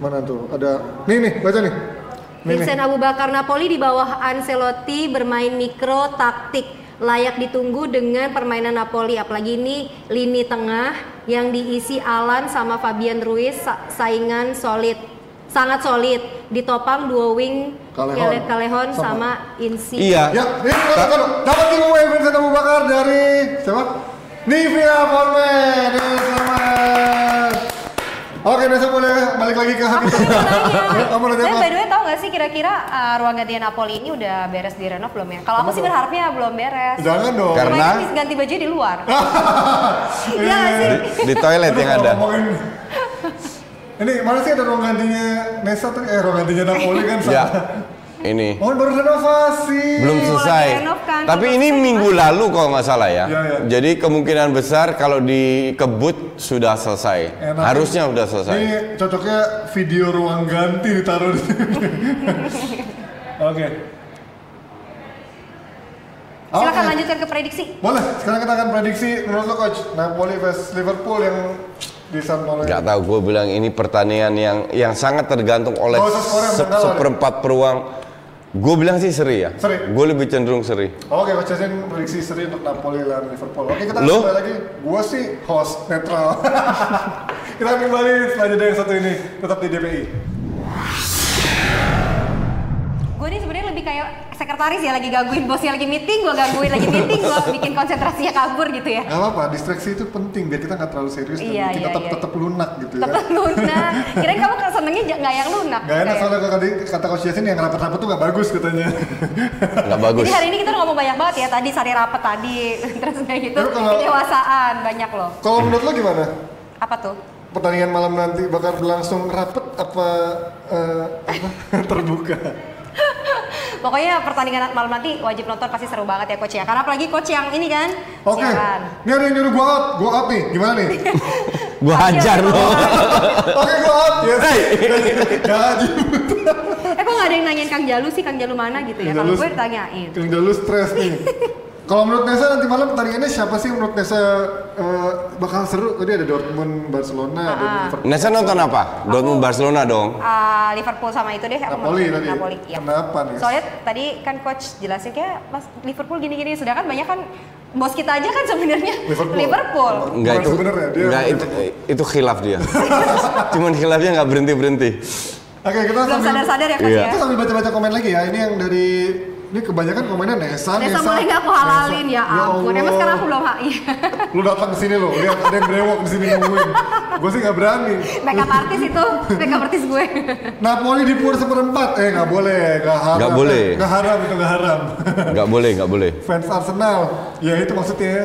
C: Mana tuh? Ada. Nih nih baca nih. Nih nih.
F: Vincent Abu Bakar Napoli di bawah Ancelotti bermain mikro taktik layak ditunggu dengan permainan Napoli apalagi ini lini tengah yang diisi Alan sama Fabian Ruiz sa- saingan solid sangat solid ditopang dua wing
C: Callejon.
F: Kale- Callejon sama
C: Sama.
F: Insi
D: Iya.
C: Ya, ini kalau- kalau- dapat giveaway Vincent Abu Bakar dari siapa? Nivea Forman. Eh, Selamat. Oke, besok boleh balik lagi ke
B: Aku
C: Habib.
B: sih mau nanya.
C: Kamu nanya
B: Tapi
C: apa?
B: by the way tau gak sih kira-kira uh, ruang gantian Napoli ini udah beres di renov belum ya? Kalau aku sih berharapnya belum beres.
C: Jangan dong.
D: Karena-
B: Karena ganti baju di luar. Iya gak
C: Eh,
B: sih?
D: di toilet yang ada.
C: Ngomongin- Ini mana sih ada ruang gantinya Nesa tuh? Eh, ruang gantinya Napoli kan sama.
D: Ya, ini
C: Oh, iya, baru renovasi.
D: belum
B: Mulai
D: selesai.
B: renov kan,
D: Tapi
B: belum
D: ini
B: selesai.
D: minggu lalu kalau nggak salah ya.
C: Ya, ya.
D: Jadi kemungkinan besar kalau di Kebut sudah selesai.
C: Enak. kan? Iya.
D: Harusnya sudah selesai.
C: Ini cocoknya video ruang ganti ditaruh di sini. Oke.
B: Silakan
C: Oke.
B: lanjutkan ke prediksi.
C: Boleh, sekarang kita akan prediksi menurut lo coach Napoli versus Liverpool yang di San Paolo.
D: Gak tahu gue bilang ini pertandingan yang yang sangat tergantung oleh
C: Gak usah skornya,
D: se-
C: menang lawan.
D: seperempat peruang. Gue bilang sih seri ya.
C: Seri.
D: Gue lebih cenderung seri.
C: Oke, Coach Jason prediksi seri untuk Napoli dan Liverpool. Oke, kita
D: Lo?
C: kembali lagi. Gua sih host netral. kita akan kembali selanjutnya yang satu ini tetap di DPI.
B: Gue nih sebenarnya lebih kayak sekretaris ya lagi gangguin bosnya lagi meeting, gue gangguin lagi meeting, gue bikin konsentrasinya kabur gitu ya.
C: Gak apa-apa, distraksi itu penting biar kita nggak terlalu serius
B: Iya, iya,
C: dan kita tetap
B: iya.
C: tetap lunak gitu ya.
B: Tetap Iya, lunak. Kirain kamu senengnya ja- nggak yang lunak.
C: Gak enak
B: Kayak-
C: soalnya kalau tadi kata Coach Jason yang rapat-rapat tuh gak bagus katanya.
D: Gak bagus.
B: Jadi hari ini kita udah ngomong banyak banget ya tadi sari rapet tadi terus kayak gitu
C: Tapi kalau-
B: kedewasaan banyak loh.
C: kalau menurut lo gimana?
B: Apa tuh?
C: Pertandingan malam nanti bakal berlangsung rapet apa, eh, apa? terbuka?
B: Pokoknya pertandingan malam nanti wajib nonton pasti seru banget ya coach ya. Karena apalagi coach yang ini kan
C: Oke,
B: siaran.
C: ini ada yang nyuruh gua out, gua out nih, gimana nih?
D: Gue hajar loh.
C: Oke, gua out, yes. Gaji.
B: Eh kok gak ada yang nanyain Kang Jalu sih, Kang Jalu mana gitu ya?
C: Kang
B: Kalau
C: Jalu-
B: gue ditanyain.
C: Yang dulu stres nih. Kalau menurut Nesa nanti malam pertandingannya siapa sih menurut Nesa eh, bakal seru? Tadi ada Dortmund, Barcelona, ada Liverpool.
D: Nesa Nah, nonton apa? Dortmund Barcelona dong.
B: Ah, Liverpool sama itu deh aku
C: Napoli
B: mau-
C: tadi. ya.
B: Napoli, iya.
C: Kenapa nih?
B: Soalnya tadi kan coach jelasin kayak Mas Liverpool gini-gini sedangkan banyak kan bos kita aja kan sebenarnya
C: Liverpool.
B: Liverpool.
D: Enggak itu,
C: Bener ya, dia
D: enggak itu, itu khilaf dia. Cuman khilafnya nggak berhenti berhenti.
C: Oke, kita
B: Belum
C: sambil-
B: sadar-sadar ya coach
D: Iya.
B: ya.
C: Kita sambil baca-baca komen lagi ya. Ini yang dari ini kebanyakan komennya Nesa,
B: Nesa mulai nggak aku halalin ya
C: Nesa.
B: ampun. Emang
C: Allah.
B: sekarang aku belum HI.
C: Lu datang ke sini lo, lihat ada yang brewok di sini nungguin. Gue sih nggak berani.
B: makeup artis itu, makeup artis gue.
C: Napoli di pur seperempat, eh nggak boleh, nggak haram. Eh,
D: Nggak boleh.
C: Nggak haram itu nggak haram.
D: Nggak boleh, nggak boleh.
C: Fans Arsenal, ya itu maksudnya.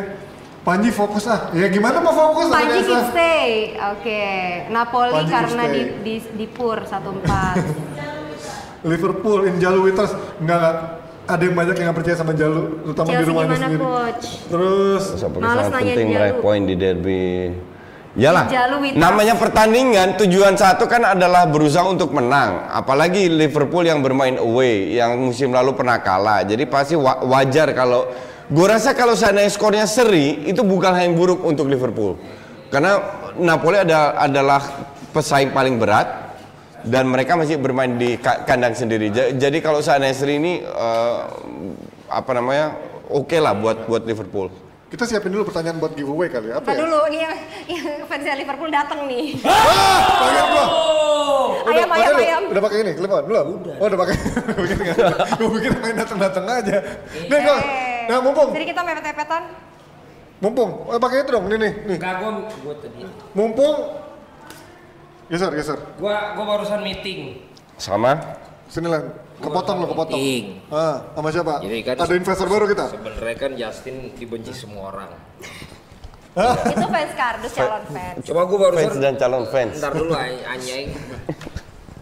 C: Panji fokus ah, ya gimana mau fokus? sama
B: Panji
C: Nesa?
B: Keep Stay. Oke. Napoli
C: Panji
B: karena
C: keep
B: di,
C: stay.
B: di di Pur 14.
C: Liverpool in Jalu Winters nggak nggak. ada yang banyak yang nggak percaya sama Jalu, terutama di
B: Chelsea
C: rumahnya
B: gimana
C: sendiri.
B: coach?
C: Terus
D: Sampai
B: Males
D: sangat
B: nanyain
D: penting
B: dia
D: meraih
B: lu.
D: poin di derby. Yalah,
B: Jalu Witras.
D: namanya pertandingan tujuan satu kan adalah berusaha untuk menang. Apalagi Liverpool yang bermain away, yang musim lalu pernah kalah. Jadi pasti wa- wajar kalau gue rasa kalau seandainya skornya seri itu bukan hal yang buruk untuk Liverpool. Karena Napoli ada, adalah pesaing paling berat dan mereka masih bermain di ka- kandang sendiri. Ja- Jadi kalau seandainya seri ini eh, apa namanya? Oke lah buat buat Liverpool.
C: kita siapin dulu pertanyaan buat giveaway kali ya.
B: Ntar
C: Apa ya?
B: dulu, iya, ini yang, yang fansnya Liverpool datang nih.
C: Ah, pakai gua.
B: Ayam,
C: pakai
B: ayam,
C: lu.
B: ayam.
C: Udah pakai ini, klip on, belum? Oh, udah pakai. Bikin enggak? Gua pikir main datang-datang aja. Nih, gua.
B: Eh.
C: Nah, mumpung.
B: Jadi kita mepet-mepetan.
C: Mumpung. Oh, pakai itu dong, ini nih, nih.
E: Enggak, gua gua tadi.
C: Mumpung. Geser, geser.
E: Gua gua barusan meeting.
D: Sama?
C: Sini lah. Kepotong lo, kepotong.
E: Penting.
C: Ah, sama siapa?
E: Jadi kan-
C: Ada investor baru kita.
E: Sebenarnya kan Justin dibenci semua orang.
B: Itu fans kardus calon fans.
E: Coba gua
D: Fans
E: barusan
D: dan calon fans.
E: ntar dulu ay- anjing.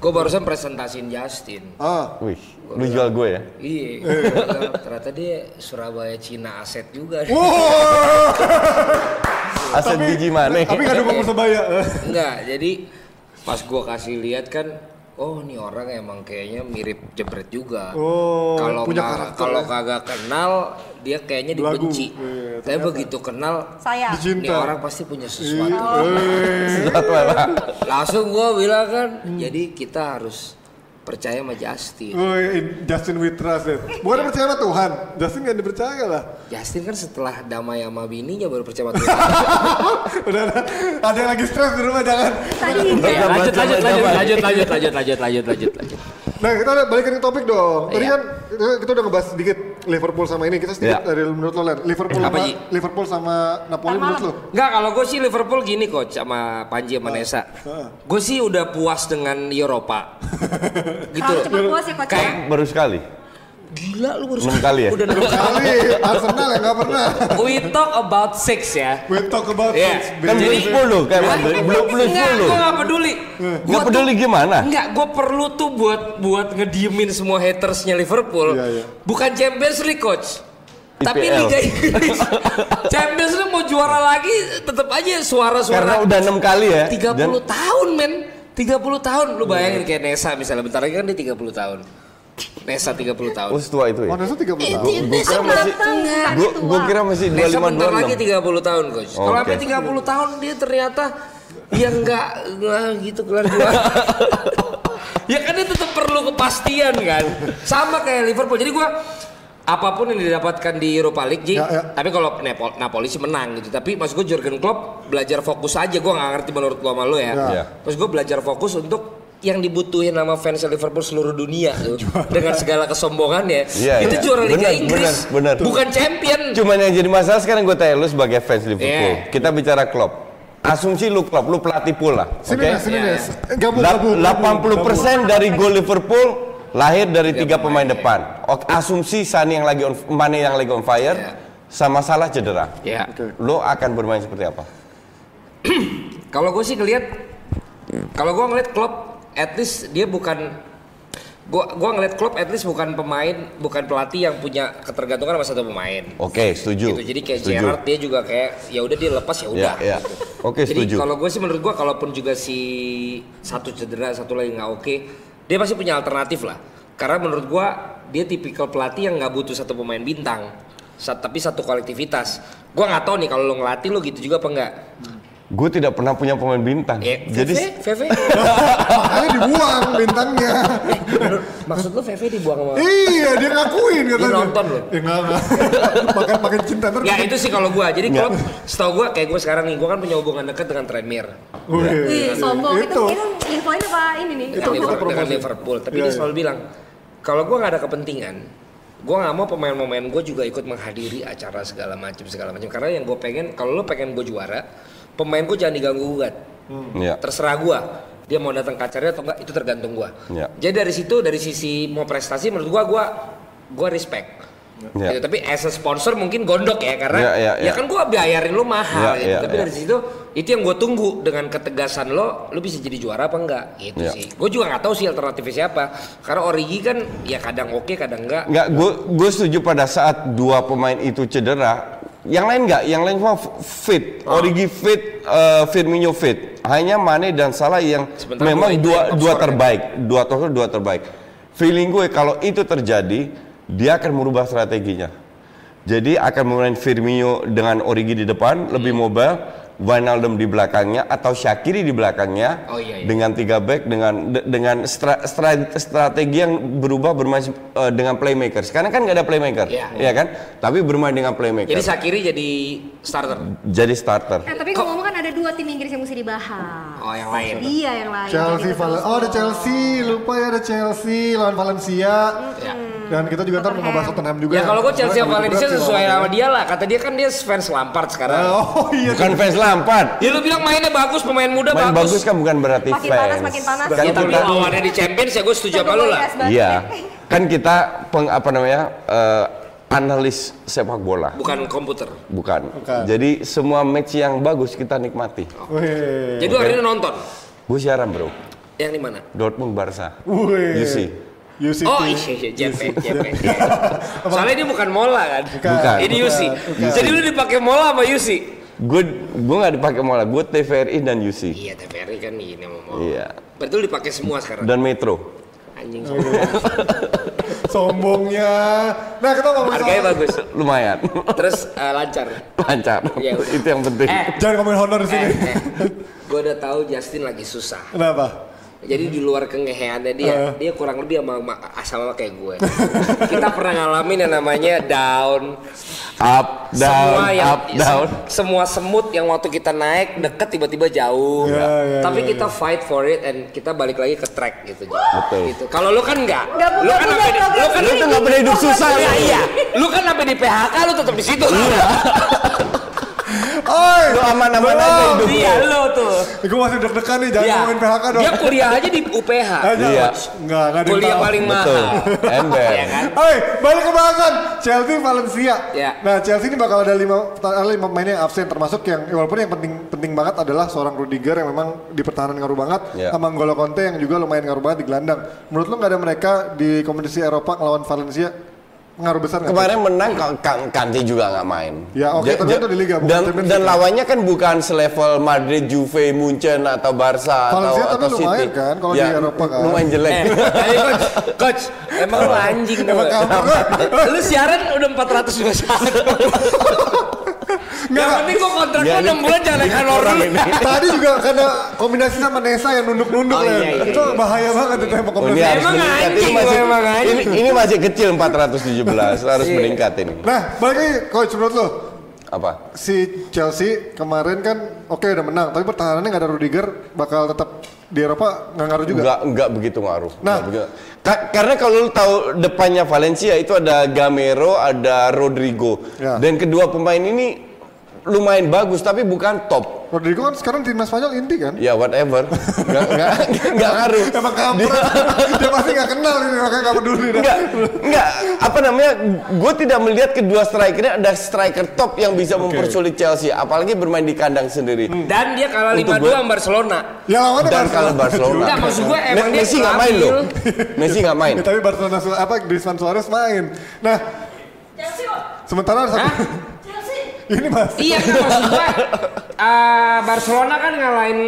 E: Gua barusan presentasiin Justin.
C: Ah,
D: Wih, lu jual gue ya?
E: Iya, gua bilang, ternyata dia Surabaya Cina aset juga.
C: Wow,
D: Aset biji mana?
C: tapi nggak dukung Persebaya.
E: Enggak, jadi pas gua kasih lihat kan, oh ini orang emang kayaknya mirip jebret juga.
C: Oh,
E: kalau
C: punya
E: nggak-
C: karakter
E: kalau
C: ya.
E: kagak kenal dia kayaknya
C: Belagu.
E: dibenci.
C: Iya,
E: Tapi begitu kenal,
B: Saya.
E: ini
C: Dicinta.
E: orang pasti punya sesuatu.
C: Eh,
E: Langsung gua bilang kan, jadi kita harus percaya sama Justin.
C: Woi, Justin Witras ya. Bukan percaya sama Tuhan. Justin nggak dipercaya lah.
E: Justin kan setelah damai sama bininya baru percaya sama Tuhan.
C: Udah ada, ada yang lagi stres di rumah jangan.
B: Tadi
E: Oke,
B: ya.
E: lanjut, lanjut,
D: Damai, damai.
E: lanjut, lanjut, lanjut, lanjut, lanjut, lanjut, lanjut, lanjut.
C: Nah kita balikin ke topik dong. Tadi
E: Iya.
C: kan kita udah ngebahas sedikit Liverpool sama ini kita sedikit
D: Ya.
C: dari menurut lo Len. Liverpool
E: Apa,
C: sama
E: Ji?
C: Liverpool sama Napoli menurut lo?
E: Enggak, kalau gue sih Liverpool gini coach sama Panji sama Nesa. Gue sih udah puas dengan Eropa. gitu.
F: Terlalu cepat puas ya coach ya.
E: Kayak
D: Baru sekali.
E: gila lu harus
D: Enam kali ya?
E: Udah enam kali.
C: Kali Arsenal ya nggak pernah.
E: We talk about six ya.
C: We talk about
E: Iya.
C: this,
D: Kan
C: baby.
D: belum 10
E: Jadi-
D: kan. Belum belum
E: Enggak, gue
D: 10.
E: gak peduli. Gua
D: Nggak peduli gimana?
E: Enggak, gue perlu tuh buat buat ngediemin semua hatersnya Liverpool.
C: Iya, iya.
E: Bukan Champions League coach. Tapi
D: IPL.
E: Liga Inggris. Champions League mau juara lagi tetap aja suara-suara.
D: Karena udah enam kali ya.
E: 30
D: dan- Iya.
E: tahun men 30 tahun lu bayangin kayak Nesa misalnya bentar lagi kan dia 30 tahun Nesa 30 tahun
D: Oh, setua itu ya.
C: Oh, Nesa 30 tahun.
D: Gue kira masih gua, gua kira masih
E: Nesa
D: 25
E: bentar lagi
D: 26.
E: 30 tahun coach kalau
D: Oke.
E: sampai 30 tahun dia ternyata ya enggak lah gitu kelar ya kan dia tetap perlu kepastian kan sama kayak Liverpool jadi gua apapun yang didapatkan di Europa League Ji
C: Ya, ya.
E: tapi kalau Napoli, Napoli sih menang gitu tapi maksud gue Jurgen Klopp belajar fokus aja gua nggak ngerti menurut lo sama lo ya
D: Ya.
E: Terus gue belajar fokus untuk yang dibutuhin sama fans Liverpool seluruh dunia tuh dengan segala kesombongannya
D: Iya,
E: itu
D: iya.
E: juara Liga
D: Benar,
E: Inggris
D: benar, benar.
E: bukan champion
D: Cuman yang jadi masalah sekarang gue tanya lu sebagai fans Liverpool.
E: Iya.
D: Kita bicara Klopp. Asumsi lu Klopp, lu pelatih pula. Oke.
C: Sini Nes, sini
E: Iya,
C: Nes. Eh, Gabung,
D: Lap-
C: gabung.
D: 80%
C: gabung,
D: dari gol Liverpool lahir dari tiga pemain depan. Ok, Asumsi Sani yang lagi on, Mane yang lagi on fire,
E: Iya.
D: sama salah cedera.
E: ya
D: Lo akan bermain seperti apa?
E: kalau gue sih ngeliat kalau gue ngeliat Klopp at least dia bukan gua gua ngeliat Klopp at least bukan pemain bukan pelatih yang punya ketergantungan sama satu pemain
D: Oke, Oh, setuju.
E: gitu jadi kayak
D: Setuju.
E: Gerrard dia juga kayak ya udah dia lepas ya
D: Ya,
E: udah
D: ya. Oke,
E: Jadi
D: setuju.
E: kalau gue sih menurut gue kalaupun juga si satu cedera satu lagi nggak oke, dia pasti punya alternatif lah. Karena menurut gue dia tipikal pelatih yang nggak butuh satu pemain bintang, Sa- tapi satu kolektivitas. Gue nggak tahu nih kalau lo ngelatih lo gitu juga apa enggak.
D: Gue tidak pernah punya pemain bintang.
E: Ya,
D: Jadi
E: Veve, Veve.
C: Makanya dibuang bintangnya.
E: maksud lo Veve dibuang sama
C: iya, dia ngakuin katanya.
E: nonton loh.
C: Ya enggak, enggak. Makan makin cinta terus.
E: Ya itu sih kalau gue. Jadi kalau setahu gue kayak gue sekarang nih, gue kan punya hubungan dekat dengan Tranmere.
C: Oh,
F: Wih, sombong. Itu,
C: iya, gitu. Itu.
F: itu infoin apa ini nih?
E: Dengan
C: kita
E: Liverpool, dengan
C: promosi.
E: Liverpool. Tapi
C: Iya,
E: dia
C: iya.
E: selalu bilang kalau gue nggak ada kepentingan, gue nggak mau pemain-pemain gue juga ikut menghadiri acara segala macam segala macam. Karena yang gue pengen, kalau lo pengen gue juara, pemain gue jangan diganggu gugat.
D: ya.
E: Terserah gue, dia mau datang ke acaranya atau enggak itu tergantung gue.
D: Iya.
E: Jadi dari situ dari sisi mau prestasi menurut gue gue gue respect.
D: Iya.
E: Gitu. Tapi as a sponsor mungkin gondok ya karena
D: Iya, iya,
E: ya
D: iya.
E: kan gue bayarin lo
D: Iya,
E: mahal. gitu.
D: iya,
E: Tapi
D: iya.
E: dari situ itu yang gue tunggu dengan ketegasan lo, lo bisa jadi juara apa enggak? Gitu
D: Iya.
E: sih. Gue juga nggak tahu sih alternatifnya siapa. Karena Origi kan ya kadang oke kadang enggak.
D: Nggak, gue gue setuju pada saat dua pemain itu cedera. Yang lain nggak, yang lain semua f- fit.
E: Ah.
D: Origi fit, eh, Firmino fit. Hanya Mane dan Salah yang
E: Sebentar,
D: memang
E: dua itu yang
D: dua
E: top
D: dua
E: scorer.
D: terbaik, dua total dua terbaik. Feeling gue kalau itu terjadi, dia akan merubah strateginya. Jadi akan memain Firmino dengan Origi di depan, lebih
E: Hmm.
D: mobile, Wijnaldum di belakangnya atau Shakiri di belakangnya
E: Oh, iya, iya.
D: dengan tiga back dengan de- dengan stra- stra- strategi yang berubah bermain eh, dengan playmaker. Sekarang kan nggak ada playmaker,
E: Iya.
D: ya kan? Tapi bermain dengan playmaker.
E: Jadi
D: Jadi,
E: Sakiri jadi starter.
D: starter.
F: Eh, tapi ngomong kan ada dua tim Inggris yang mesti dibahas.
E: Oh yang lain.
F: Iya yang lain.
C: Chelsea,
E: gitu.
F: Jadi
C: Valen.
F: terus-
C: Oh, ada Chelsea. Lupa ya ada Chelsea lawan Valencia.
E: Ya.
C: Dan kita juga ntar mau ngebahas Tottenham juga.
E: Ya kalau gue Chelsea
C: Karena
E: sama Valencia Ah,
C: berat sih
E: sesuai
C: lawannya.
E: sama dia lah. Kata dia kan dia fans Lampard sekarang.
C: Oh iya.
D: Bukan fans Lampard.
E: Ya lu bilang mainnya bagus, pemain muda
D: Main bagus
E: bagus.
D: kan bukan berarti
F: Makin
D: fans.
F: panas, makin panas.
D: Kan
E: Ya, tapi
D: kita-
E: lawannya di Champions ya gue setuju sama lu lah.
F: Yes, banget.
D: Iya. Kan kita peng apa namanya? eh, analis sepak bola.
E: Bukan komputer.
D: Bukan.
C: Bukan.
D: Jadi semua match yang bagus kita nikmati.
C: Wih.
E: Jadi hari ini nonton.
D: Gue siaran, Bro.
E: Yang di mana?
D: Dortmund Barca.
C: Wih.
D: You see.
C: UCT.
E: Oh iya iya JP JP. Soalnya ini bukan mola kan?
D: Bukan.
E: Ini
C: Bukan,
E: Yusi.
C: bukan.
E: Jadi lu dipakai mola sama Yusi.
D: Gue gue nggak dipakai mola, gue TVRI dan UC
E: Iya TVRI kan ini sama mola.
D: Iya.
E: Berarti lu dipakai semua sekarang.
D: dan Metro.
E: Anjing.
C: Sombongnya. Nah, kita ngomongin
E: Harganya
C: soal...
E: bagus.
D: Lumayan
E: Terus eh, lancar.
D: lancar.
E: Iya, udah.
D: Itu yang penting.
E: Eh,
C: Jangan ngomongin honor di sini.
E: eh, eh. Gue udah tahu Justin lagi susah.
C: Kenapa?
E: Jadi di luar kengeheannya dia, dia kurang lebih sama, sama, sama kayak gue. Kita pernah ngalamin yang namanya down,
D: Up, down,
E: semua yang
D: up, down.
E: se- semua semut yang waktu kita naik deket tiba-tiba jauh.
D: Iya,
C: Ya, ya,
E: Tapi
C: ya,
E: kita fight for it and kita balik lagi ke track gitu.
D: Betul.
E: Gitu. Kalau lu kan enggak.
B: Nggak, bukan,
E: Lu
B: bukan,
E: kan sampai di-
B: nggak,
E: lu kan
D: Lu tuh nggak pernah hidup susah Iya.
E: Iya,
D: lu.
E: iya. Lu kan sampai di PHK lu tetap di situ. kan?
C: Oi,
D: Lu aman-aman aja
C: belum.
D: hidup.
E: Iya, lu tuh.
C: Gue masih deg-degan nih, jangan
E: Iya.
C: ngomongin PHK dong.
E: Dia kuliah aja di UPH.
C: Eh, jangan.
D: Iya.
C: Nggak, nggak ada yang
E: Kuliah
C: tahu.
E: paling
D: Betul.
E: mahal.
D: Ember.
E: Iya kan?
C: Oi, balik ke belakang. Chelsea Valencia.
E: Ya.
C: Nah, Chelsea ini bakal ada lima, ada lima pemain yang absen termasuk yang walaupun yang penting penting banget adalah seorang Rudiger yang memang di pertahanan ngaruh banget
E: Iya.
D: Ya.
C: sama N'Golo Conte yang juga lumayan ngaruh banget di gelandang. Menurut lu nggak ada mereka di kompetisi Eropa ngelawan Valencia ngaruh besar nggak?
D: Kemarin menang Ka- Ka- Kante juga nggak main.
C: Ya, oke,
D: Ja-
C: tapi
D: ja-
C: itu di Liga, bukan
D: Dan,
C: Champions
D: dan
C: League.
D: lawannya kan bukan selevel Madrid, Juve, Munchen atau Barca atau
C: Valencia tapi
D: atau City. Ya,
C: lumayan kan kalau di Eropa kan.
D: Lumayan jelek.
E: Eh, tapi coach, coach, emang lu anjing
C: Emang
E: tau
C: kamu
E: gak? Lu siaran udah 421. Yang penting gua kontrak lu
D: Jangan
E: 6 bulan jangan naik honor
D: Orang
E: dulu.
D: ini.
C: Tadi juga karena kombinasi sama Nesa yang nunduk-nunduk
E: Oh,
C: ya.
E: iya, iya,
C: itu
E: iya.
C: bahaya banget itu emang
D: Oh, ini
C: kombinasi.
D: harus
E: Emang
D: meningkat. Ini
E: anjing,
D: masih,
E: emang anjing. Iya.
D: ini, ini masih kecil 417, harus meningkat ini.
C: Nah, balik lagi coach menurut lo
D: Apa?
C: si Chelsea kemarin kan oke udah menang, tapi pertahanannya nggak ada Rudiger bakal tetap di Eropa nggak ngaruh juga.
D: Enggak, enggak begitu ngaruh.
C: Nah.
D: Nggak begitu. Ka- karena kalau lu tahu depannya Valencia itu ada Gamero, ada Rodrigo.
C: Ya.
D: Dan kedua pemain ini lumayan bagus tapi bukan top.
C: Rodrigo kan sekarang timnas Spanyol inti kan?
D: Ya whatever. Enggak enggak enggak ngaruh.
C: Emang kampret, dia pasti nggak kenal ini makanya nggak peduli. dah.
D: Enggak, enggak. Apa namanya? Gue tidak melihat kedua strikernya ada striker top yang bisa mempersulit Chelsea, apalagi bermain di kandang sendiri.
E: Dan dia kalah
D: Untuk
E: 5-2
D: gua-
E: sama Barcelona.
C: Ya lawannya
D: Dan
C: Barcelona.
D: kalau Barcelona.
E: Enggak, maksud gue emang
D: Me-
E: dia
D: Messi nggak main
E: stabil.
D: loh. Messi nggak main.
C: Ya, tapi Barcelona Su- apa Griezmann Suarez main. Nah, sementara satu. ini mas.
E: Iya kan maksud gue eh, Barcelona kan ngalahin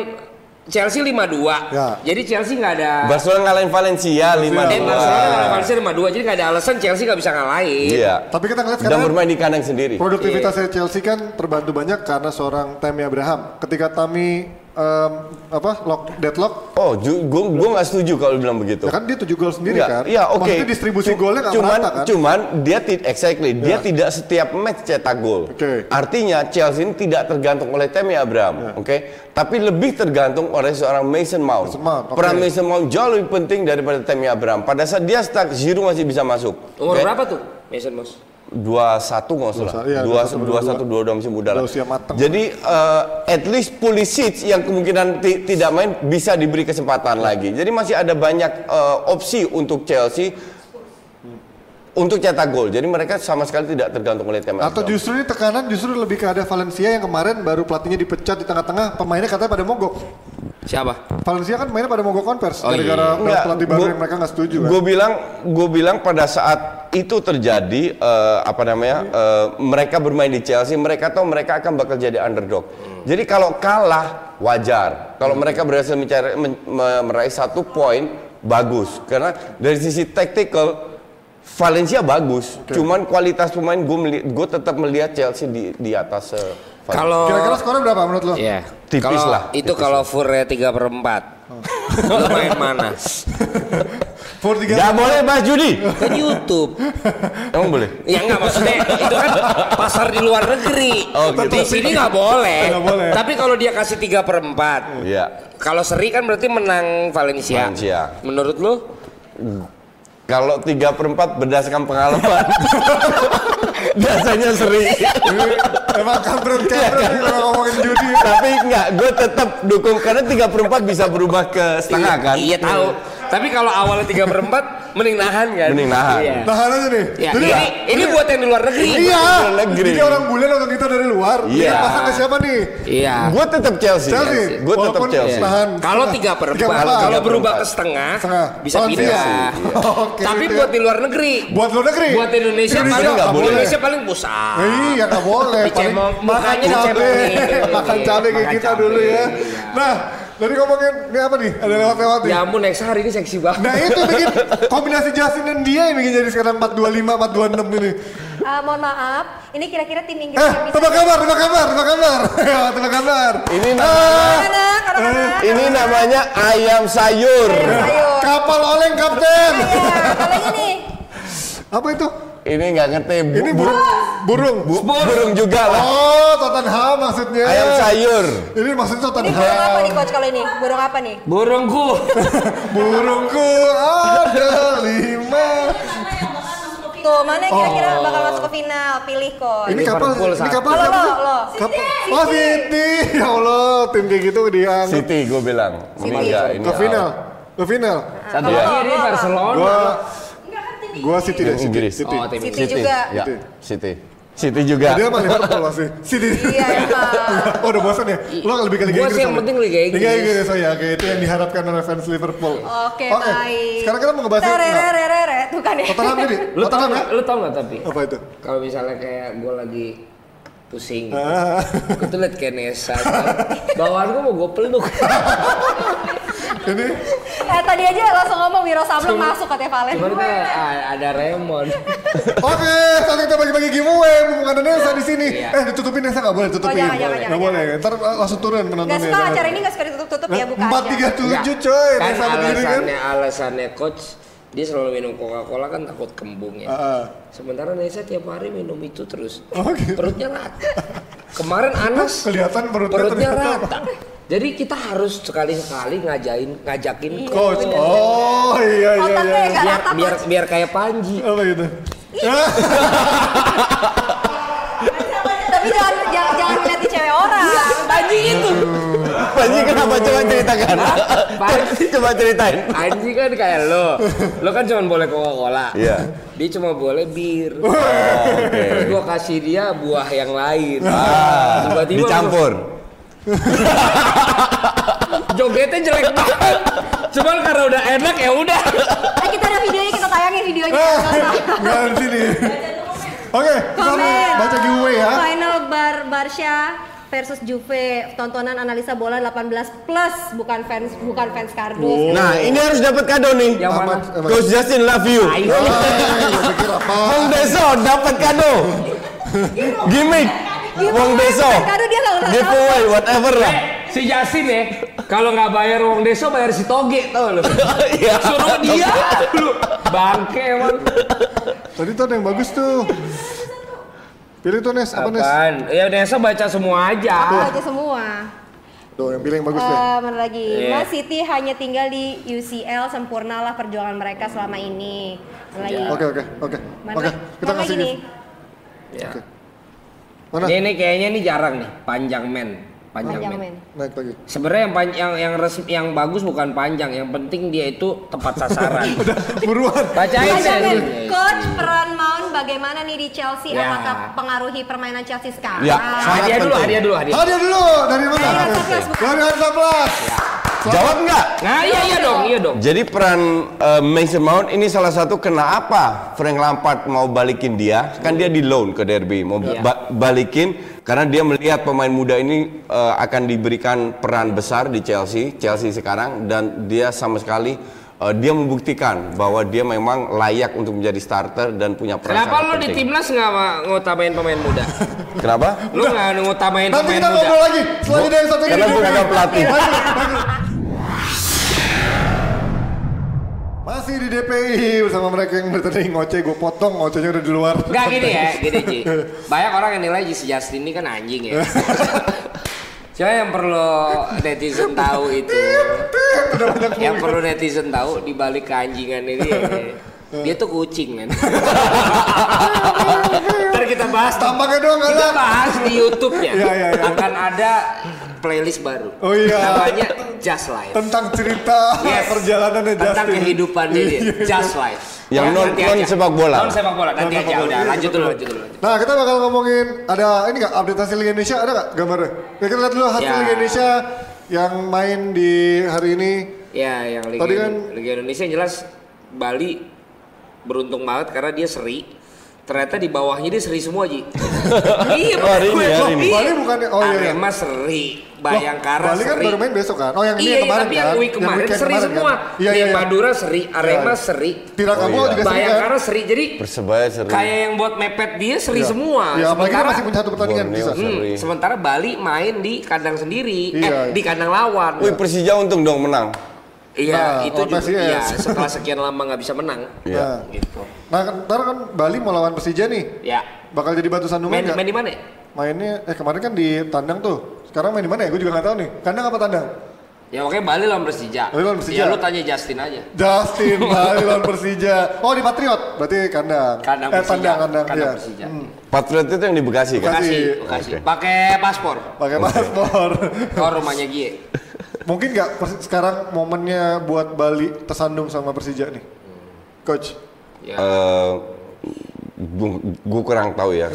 E: Chelsea 5-2.
C: Ya.
E: Jadi Chelsea nggak ada
D: Barcelona ngalahin Valencia 5-2.
E: Eh, Barcelona ngalahin Valencia 5-2. Jadi nggak ada alasan Chelsea nggak bisa ngalahin.
D: Iya.
C: Tapi kita ngeliat
D: Dan
C: sekarang
D: bermain di kandang sendiri.
C: Produktivitasnya Chelsea kan terbantu banyak karena seorang Tammy Abraham. Ketika Tammy em, apa lock, deadlock,
D: Oh, gue gue nggak setuju kalau bilang begitu.
C: ya kan dia 7 gol sendiri
D: Nggak,
C: kan?
D: Iya, oke.
C: Maksudnya distribusi
D: Cu-
C: golnya nggak
D: cuman,
C: merata kan? Ya.
D: Cuman dia ti- exactly, dia tidak setiap match cetak gol.
C: Oke. Ya.
D: Artinya Chelsea ini tidak tergantung oleh Tammy Abraham, oke? Tapi lebih tergantung oleh seorang Mason Mount.
C: Mason Mount, oke.
D: Peran Mason Mount jauh lebih penting daripada Tammy Abraham. Pada saat dia stuck, Giroud masih bisa masuk. oke?
E: Umur berapa tuh Mason Mouse?
D: dua satu nggak salah
C: Iya,
D: dua
C: 21,
D: dua satu dua dua musim muda lah
C: Udah usia mateng.
D: jadi eh, at least Pulisic yang kemungkinan ti- tidak main bisa diberi kesempatan lagi jadi masih ada banyak eh, opsi untuk Chelsea untuk cetak gol jadi mereka sama sekali tidak tergantung oleh tema
C: Atau justru ini tekanan justru lebih ke ada Valencia yang kemarin baru pelatihnya dipecat di tengah-tengah, pemainnya katanya pada mogok.
E: Siapa?
C: Valencia kan mainnya pada mogok konvers
E: Oh, iya.
C: gara-gara
D: Nggak,
C: pelatih baru
D: gua-
C: yang mereka nggak setuju kan.
D: Gue bilang, gue bilang pada saat itu terjadi eh, apa namanya? eh, mereka bermain di Chelsea, mereka tahu mereka akan bakal jadi underdog.
C: Hmm.
D: Jadi kalau kalah wajar. Kalau mereka berhasil mencari men- me- meraih satu poin bagus. Karena dari sisi tactical Valencia bagus. Cuman kualitas pemain gue gue tetap melihat Chelsea di di atas eh, Valencia.
E: Kalau
C: Kira-kira skornya berapa menurut lo?
E: Iya.
D: Tipis
E: Kalau
D: lah, Oh.
E: Itu
D: tipis
E: kalau furnya 3 per 4. Lu main mana?
C: Four tiga.
D: Gak boleh Mas Judi.
E: Ke YouTube.
D: Emang boleh.
E: Ya enggak maksudnya itu kan pasar di luar negeri.
D: Oh, gitu.
E: Di sini nggak boleh.
C: Nggak boleh.
E: Tapi kalau dia kasih 3 per 4.
D: Iya.
E: Kalau seri kan berarti menang Valencia.
D: Valencia.
E: Menurut lu?
D: Kalau 3 per 4 berdasarkan pengalaman Dasarnya seri
C: Emang kampret-kampret kita ngomongin judi.
E: Iya.
C: ya.
D: Tapi enggak, gue tetap dukung Karena 3 per 4 bisa berubah ke setengah kan
E: Iya tahu. Tapi kalau awalnya 3 per 4 mending nahan kan?
D: Mending nahan.
E: Iya.
C: Tahan aja nih.
E: Ya,
C: Jadi-
E: ini, ini buat yang di luar negeri.
C: Nah, Iya.
D: Luar negeri.
C: Jadi orang bule nonton kita dari luar.
D: Iya.
C: Dia pasang ke siapa nih?
E: Iya.
D: Gue Nah, tetap Chelsea,
C: Chelsea.
D: Gue tetap
C: Walaupun
D: Chelsea
C: Tahan.
E: Kalau tiga per
C: Tiga
E: empat,
C: empat.
E: kalau
D: Tiga per
E: berubah
D: empat.
E: ke setengah,
C: Setengah.
E: bisa
C: Oh,
E: pindah.
C: iya. Oke,
E: Tapi
C: gitu ya.
E: buat di luar negeri,
C: Buat luar negeri.
E: buat Indonesia, paling
D: nggak boleh.
E: Indonesia paling pusat.
C: Iya nggak boleh.
E: Dicemong,
C: makan
E: mukanya
C: cabe,
E: dicemongin.
C: makan cabe kayak
E: Makan
C: kita
E: cabe.
C: dulu ya.
E: Iya.
C: Nah, Tadi ngomongin ini apa nih? Ada lewat-lewat nih.
E: Ya ampun, Nexa hari ini seksi banget.
C: Nah itu bikin kombinasi Justin dan dia yang bikin jadi sekarang 425, 426 ini.
B: Eh, mohon maaf, ini kira-kira tim Inggris
C: Eh,
B: yang bisa.
C: tebak kabar, tebak kabar, tebak kabar. Ayo, tebak kabar.
D: Ini
C: Ah,
B: Anak, anak-anak.
D: Ini namanya ayam sayur.
B: Ayo.
C: kapal oleng kapten.
B: Iya, kalau ini
C: Apa itu?
D: Ini nggak ngerti. Bu,
C: Ini burung, burung.
D: bu- burung juga lah.
C: Oh, iya. Tottenham maksudnya.
D: Ayam sayur.
C: Ini
B: ini
C: maksudnya
B: burung apa
C: Tottenham.
B: nih coach kalau ini? Burung apa nih?
E: Burungku.
C: Burungku ada lima.
B: Tuh, mana yang kira-kira bakal masuk ke final? Pilih coach.
C: Oh. Ini kapal,
E: Liverpool
C: ini
E: satu.
C: kapal.
B: Lo,
C: kapal.
B: lo, lo.
C: Kapal. Oh City, ya Allah, tim kayak gitu dia
D: City gue bilang. Enggak, ini ah.
C: ke
D: out.
C: final, ke final.
E: Satu
D: Iya.
E: lagi ini Barcelona.
C: Gua, gua City deh, City.
D: Inggris.
C: City. Iya.
E: Oh, tim
B: kan City
E: Inggris.
B: juga.
D: Ya,
C: City.
D: City. City juga.
C: Dia mah Liverpool masih. City.
B: Iya, emang.
C: oh udah bosan ya? Lo lebih ke Liga
E: Gua
C: Inggris.
E: sih yang
C: soalnya.
E: penting Liga Inggris.
C: Liga Inggris, oh ya. Oke, itu yang diharapkan oleh fans Liverpool.
B: Oke, baik.
C: Sekarang kita mau ngebahas nah,
B: Tererererere, tuh kan ya.
C: Tottenham tadi.
E: Lu tau
C: Tottenham ya?
E: nggak? Lu tau nggak tapi?
C: Apa itu?
E: Kalau misalnya kayak gue lagi pusing, gitu.
C: Ah.
E: gue tuh liat kayak Nesa. Bawaan gue mau gue peluk.
C: Ini
B: Eh, tadi aja langsung ngomong Wiro Sableng masuk katanya Valen.
E: Cuman kan a- ada Raymond.
C: Oke, saat kita bagi-bagi giveaway mumpung ada Nesa di sini. Eh, ditutupin Nesa nggak boleh ditutupin.
B: Iya. Oh, jangan, jangan,
C: Nggak boleh. Ntar eh, langsung turun penontonnya.
B: Gak suka acara ini gak suka ditutup-tutup ya bukannya.
C: Nah, Empat tiga
E: Nggak.
C: tujuh coy.
E: Kan
C: Nesa berdiri kan.
E: alasannya, alasannya coach, dia selalu minum Coca-Cola kan takut kembung ya.
C: Heeh.
E: Sementara Nesa tiap hari minum itu terus.
C: Ah. Oh, gitu.
E: Perutnya rata. Kemarin Anas
C: Kelihatan perutnya
E: perutnya
C: ternyata
E: rata. Jadi kita harus sekali-sekali ngajain ngajakin
C: Coach. Oh iya iya
B: Otaknya Iya,
C: iya.
B: nggak
E: biar
B: rata
E: biar
B: coach.
E: biar kayak Panji.
C: Apa itu?
B: Tapi jangan jangan jangan lihat di cewek orang.
E: Panji itu.
D: Panji kenapa coba ceritakan?
E: Panji.
D: coba ceritain.
E: Panji kan kayak lo. Lo kan cuma boleh Coca-Cola.
D: Iya.
E: Dia cuma boleh bir.
D: Oh, Oke.
E: Terus gua kasih dia buah yang lain.
D: Ah,
E: Tiba-tiba
D: dicampur.
E: Jogetnya jelek banget. Cuman karena udah enak ya udah.
B: Eh, kita ada videonya kita tayangin videonya.
C: Eh, Nggak di sini. Oke, kita
B: Komen.
C: baca giveaway ya.
B: Final Bar Barca versus Juve tontonan analisa bola 18 plus bukan fans bukan fans kardus.
C: Oh.
D: Nah, ini harus dapat kado nih.
E: Yang mana?
C: Amat, amat.
D: Coach Justin love you.
E: Ayo.
C: Hai, gua pikir apa?
D: Wong Deso dapat kado. Gimik. Wong Deso.
B: Kado dia nggak usah
D: Giveaway whatever lah.
E: Si Jasin ya, kalau nggak bayar uang deso bayar si toge tau lo.
D: Iya.
E: Suruh dia lu. Bangke emang.
C: Tadi tuh ada yang bagus tuh. Pilih tuh Nes, apa Nes?
E: Apaan? Ya Nesa baca semua
B: Aku
E: aja.
B: aja semua.
C: Tuh yang pilih yang bagus deh.
B: Eh, mana lagi?
E: Iya.
B: Man City hanya tinggal di UCL sempurnalah perjuangan mereka selama ini. Mana lagi?
C: Oke oke oke.
B: Eh, Mana,
C: Oke, kita
B: mana
C: kasih
B: lagi nih?
C: gift.
E: Ya.
C: Mana?
E: Ini, ini kayaknya ini jarang nih, panjang men, panjang,
B: Panjang
E: men.
B: men.
C: Naik lagi.
E: Sebenarnya yang, pan- yang yang resmi yang bagus bukan panjang, yang penting dia itu tepat sasaran.
C: Buruan.
E: Bacain
B: Panjang men.
E: deh.
B: Coach peran Mount bagaimana nih di Chelsea?
E: Ya.
B: Apakah pengaruhi permainan Chelsea sekarang?
D: Ya.
E: Hadiah dulu, hadiah dulu, hadiah.
C: Hadiah dulu dari mana?
B: Dari Hansa Plus, bukan?
C: Dari Hansa Plus.
D: Jawab nggak?
E: Nah iya iya dong, iya dong.
D: Jadi peran eh, Mason Mount ini salah satu kenapa Frank Lampard mau balikin dia? Kan dia di loan ke Derby, mau
E: Iya.
D: ba- balikin karena dia melihat pemain muda ini eh, akan diberikan peran besar di Chelsea, Chelsea sekarang dan dia sama sekali eh, dia membuktikan bahwa dia memang layak untuk menjadi starter dan punya peran
E: Kenapa
D: sangat
E: lu di
D: penting.
E: timnas nggak ma- ngutamain pemain muda?
D: Kenapa?
E: Lu nggak ngutamain
C: Nanti
E: pemain
C: kita
E: muda?
C: ngobrol lagi. Selanjutnya yang satu ini.
D: Karena
C: dulu.
D: bukan pelatih.
C: Masih di DPI bersama mereka yang bertanding ngoceh, gue potong ngocehnya udah di luar.
E: Gak gini ya, gini Ji. Banyak orang yang nilai si Justin ini kan anjing ya. Cuma yang perlu netizen tahu itu, yang perlu netizen tahu di balik keanjingan ini, dia tuh kucing kan. Ntar kita bahas,
C: Tampaknya doang nggak
E: kita
C: ada.
E: bahas di YouTube-nya.
C: Iya, iya, iya.
E: Akan ada playlist baru.
C: Oh, iya.
E: Namanya Just Life.
C: Tentang cerita
E: Yes.
C: perjalanannya
E: tentang
C: Justin. Iya,
E: kehidupan dia, Just Life.
D: Yang
E: Ya,
D: non-
E: nanti aja.
D: non sepak bola.
E: Non sepak bola,
C: Non
E: nanti
C: sepak
E: aja
C: bola.
E: udah
C: Iya,
E: lanjut
C: sepak
E: dulu,
C: bola.
E: lanjut dulu. lanjut.
C: Nah kita bakal ngomongin ada ini nggak update hasil Liga Indonesia ada nggak gambarnya? Ya, kita lihat dulu hasil
E: Ya.
C: Liga Indonesia yang main di hari ini.
E: Ya, yang Liga,
C: Tadi kan-
E: Liga Indonesia yang jelas Bali beruntung banget karena dia seri Ternyata di bawahnya dia seri semua Ji. iya,
D: Oh, hari ini,
E: gue-
D: hari ini.
C: Bali bukannya- oh, iya, iya.
E: Arema seri,
C: Loh,
E: Bayangkara
C: Bali kan
E: seri.
C: baru main besok kan? Oh yang ini
E: iya,
C: yang
E: iya,
C: kemarin
E: tapi
C: kan?
E: yang week kemarin
C: weekend
E: seri
C: kemarin kan?
E: semua.
C: Iya, iya, iya.
E: Madura seri, Arema seri,
D: Oh, iya.
C: Tirakabo juga seri kan?
E: Bayangkara seri. Jadi
D: Persebaya seri.
E: kayak yang buat mepet dia seri
C: Iya.
E: semua.
C: Iya, apalagi dia
E: Sementara-
C: masih punya satu pertandingan
D: Borneo
C: bisa.
D: seri.
E: Hmm, sementara Bali main di kandang sendiri,
C: Iya.
E: eh di kandang lawan.
D: Wih Persija untung dong menang.
E: Iya,
C: Nah,
E: itu
C: oh,
E: juga.
C: PSIS.
E: Iya, setelah sekian lama nggak bisa menang.
D: Iya.
C: Nah,
E: Gitu.
C: nah kan- ntar kan Bali mau lawan Persija nih.
E: Ya.
C: Bakal jadi batu sandungan
E: Main,
C: nggak?
E: main di mana? ya?
C: Mainnya eh kemarin kan di tandang tuh. Sekarang main di mana ya? Gue juga nggak tahu nih. Kandang apa tandang?
E: Ya oke Bali lawan Persija.
C: Bali lawan Persija.
E: Ya lu tanya Justin aja.
C: Justin Bali lawan Persija. Oh di Patriot, berarti kandang.
E: Kandang
C: eh,
E: Persija.
C: tandang, kandang,
E: Kandang
C: iya.
E: Persija.
C: Hmm.
D: Patriot itu yang di Bekasi kan?
C: Bekasi.
E: Kasih,
C: Oke.
E: kasih. Pakai paspor.
C: Pakai paspor.
E: Kau rumahnya Gie.
C: Mungkin nggak pers- sekarang momennya buat Bali tersandung sama Persija nih, coach.
E: Ya.
D: Eh, gu- gua kurang tahu ya.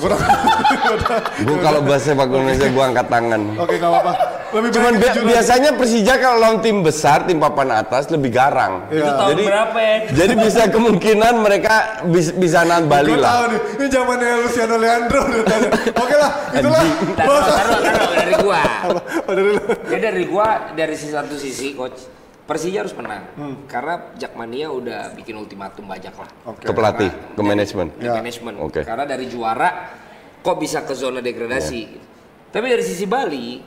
D: Gua kalau bahasa sepak bola Indonesia gua angkat tangan.
C: Oke nggak apa-apa. Lebih baik
D: Cuman bi-
C: kejujuran.
D: biasanya Persija kalau lawan tim besar, tim papan atas lebih garang.
C: Iya. Itu
E: tahun berapa ya?
D: Jadi bisa kemungkinan mereka bis- bisa nahan Bali
C: Gua tahu
D: lah.
C: nih, ini zamannya Luciano Leandro udah tanya. Oke lah, itulah.
E: Taruh, taruh, taruh kan, dari gua.
C: Oh, dari lu.
E: Ya dari gua dari sisi satu sisi coach. Persija harus menang.
C: Hmm.
E: Karena Jakmania udah bikin ultimatum bajak lah.
C: Oke.
D: Ke pelatih, ke manajemen.
E: di
C: Ya.
E: manajemen.
D: Oke.
E: Karena dari juara kok bisa ke zona degradasi. Tapi dari sisi Bali,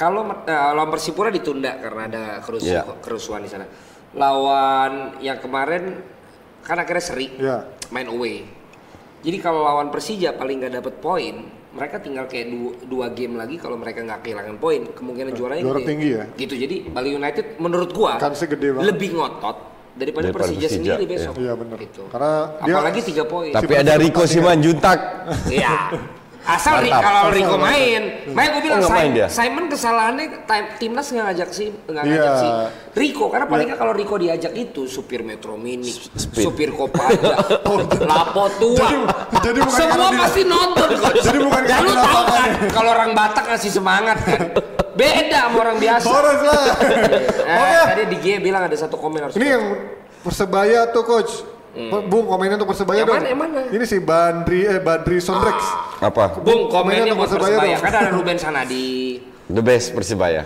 E: kalau eh, lawan Persipura ditunda karena ada kerusu-
D: Ya.
E: kerusuhan di sana. Lawan yang kemarin kan akhirnya seri,
C: Ya.
E: main away. Jadi kalau lawan Persija paling nggak dapet poin, mereka tinggal kayak du- dua, game lagi kalau mereka nggak kehilangan poin, kemungkinan juaranya
C: juara
E: gede.
C: tinggi ya?
E: Gitu. Jadi Bali United menurut gua
C: Kansnya gede banget.
E: lebih ngotot daripada,
D: Daripada
E: Persija,
D: Persija,
E: sendiri
D: iya.
E: besok.
C: Iya, bener.
E: Gitu.
C: Karena dia-
E: apalagi tiga poin.
D: Tapi ada Rico Simanjuntak.
E: Iya. Asal Ri-
D: Mantap.
E: kalau Rico main, makanya gue bilang
D: Oh, nggak main
E: Simon,
D: dia?
E: Simon kesalahannya tim- timnas nggak ngajak sih,
C: Iya.
E: nggak ngajak sih Rico karena paling nggak kalau Rico diajak itu supir Metro Mini, supir Kopaja,
D: Oh, gitu.
E: Lapo tua,
C: Jadi- jadi bukan
E: semua
C: karena dia-
E: pasti nonton kok.
C: Jadi bukan
E: Dan
C: karena
E: lu tahu
C: apa-apa.
E: kan kalau orang Batak ngasih semangat kan, beda sama orang biasa.
C: Boros lah.
E: Eh,
C: Oke.
E: Tadi di G bilang ada satu komen harus.
C: Ini yang persebaya tuh coach. Bung komennya untuk persebaya
E: Hmm. Yang
C: dong.
E: mana, yang mana?
C: Ini si Bandri eh Bandri Sondrex.
D: Apa?
E: Bung komennya
C: Komennya
E: buat
C: untuk Persebaya
E: Persebaya,
C: dong.
E: karena ada Ruben Sanadi.
D: The best Persibaya.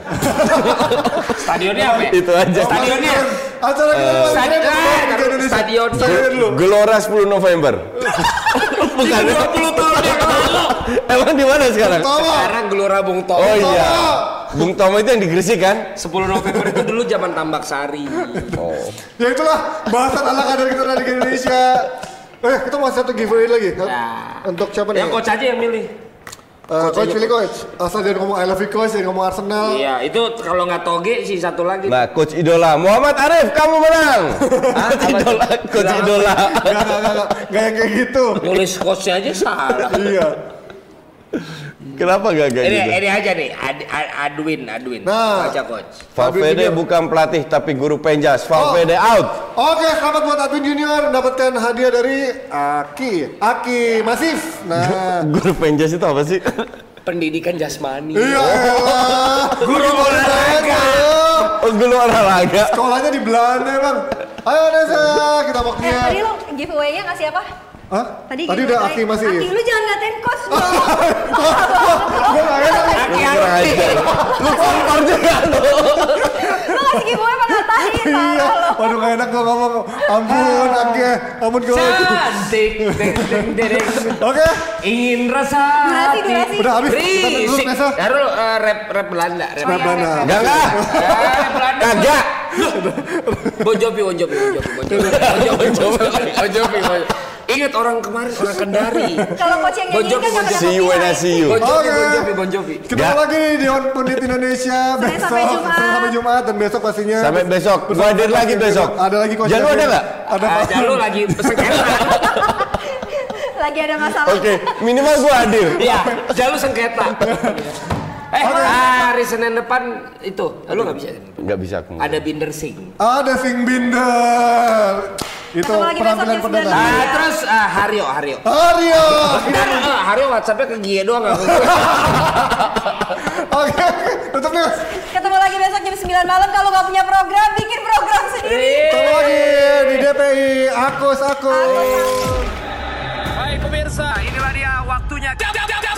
E: Stadionnya apa ya?
D: Itu aja.
C: Oh,
E: Stadionnya.
C: Acara kita uh,
E: Stadion- Stadion.
C: Stadion dulu.
D: Gelora 10 November. Bukan.
E: 20 tahun yang lalu.
D: Emang di mana sekarang?
C: Tomo.
E: Sekarang Gelora Bung Tomo.
D: Oh iya. Bung Tomo itu yang di Gresik kan?
E: 10 November itu dulu zaman Tambak Sari.
D: Oh.
C: Ya itulah bahasan anak kader kita dari Indonesia. Eh, kita masih satu giveaway lagi. kan?
E: Nah.
C: Untuk siapa nih?
E: Yang coach aja yang milih.
C: Eh, coach pilih coach. Asal jangan ngomong I love you coach, jangan ngomong Arsenal.
E: Iya, itu kalau nggak toge sih satu lagi.
D: Nah, coach idola Muhammad Arif kamu menang. Hah? idola, coach idola.
C: Gak, gak, gak, gak, gak yang kayak gitu.
E: Nulis coachnya aja salah.
C: iya.
D: Kenapa gak kayak
E: ini,
D: gitu?
E: ini aja nih, Ad, Ad- Adwin, Adwin.
C: Nah.
E: Baca coach.
D: Valverde
C: Adwin
D: bukan pelatih tapi guru
E: Oh.
D: penjas. Valverde out.
C: Oke, selamat buat Adwin Junior mendapatkan hadiah dari Aki. Aki Masif. Nah.
D: Guru penjas itu apa sih?
E: Pendidikan jasmani.
C: Iya elah. Guru olahraga.
D: Oh, guru olahraga.
C: Sekolahnya di Belanda, Bang. Ayo Nesa, kita
B: Eh,
C: waktunya.
B: tadi lo giveaway-nya ngasih apa?
C: Hah? Tadi, udah
B: giveaway.
C: Aki Masif.
B: Aki, lu jangan ngatain coach dong.
C: Gua gak enak.
A: Ya,
D: Lu kurang ajar. Lu kompar juga lu.
B: lu ngasih giveaway apa ngatain?
C: Iya,
B: parah Ah. lo.
C: waduh gak enak gua ngomong. Ampun, Aki. Ampun, gua.
E: Cantik, deng, deng, deng, deng.
C: Oke,
E: Ingin rasa
B: Durasi,
E: hati.
B: durasi.
C: udah habis. Kita tutup,
E: Berisik.
C: Nesa.
B: Ya.
E: Harus eh, rap rap Belanda. Rap
B: Iya,
C: Nah, Belanda.
D: Enggak lah.
E: Eh, Belanda.
D: Kagak.
E: Bon Jovi, Bon Jovi, Bon Jovi, Bon Jovi, Bon Jovi, Bon Jovi, Bon Jovi, Bon Jovi. Ingat orang kemarin orang Kendari.
B: Kalau coach yang
E: Bon
B: nyanyi
E: Jovi,
B: kan
E: Bon
B: gak
E: Jovi.
B: pernah
D: See you when I
B: copyright.
D: see you.
E: Bon Jovi,
C: Oke.
E: Bon Jovi, Bon Jovi.
C: Kita
D: Nggak.
C: lagi nih di Dewan Pundit Indonesia
B: Senin
C: besok
B: sampai Jumat.
C: Senin sampai Jumat dan besok pastinya
D: Sampai besok. Gua hadir lagi besok.
C: Ada lagi coach.
D: Jalu ada nggak?
C: Ada
E: Ah,
C: Pak.
E: Jalu lagi sengketa.
B: Lagi ada masalah.
D: Oke, minimal gua hadir.
E: Iya, Jalu sengketa. Eh,
C: Oke.
E: hari Senin depan itu, lu nggak bisa.
D: Enggak bisa aku.
E: Ada Binder Singh.
C: Ada Sing Binder. Itu
B: Ketemu lagi besok
C: penampilan
B: jam
C: perdana.
E: Ah, terus ah, Haryo, Haryo.
C: Aryo.
E: Ntar, eh, Haryo WhatsAppnya ke Gie doang nggak ke gue.
C: Oke, tutup nih. Mas.
B: Ketemu lagi besok jam 9 malam kalau nggak punya program, bikin program sendiri.
C: Ketemu lagi di DPI Akus Akus.
A: Baik pemirsa, inilah dia waktunya. Jam, jam, jam, jam,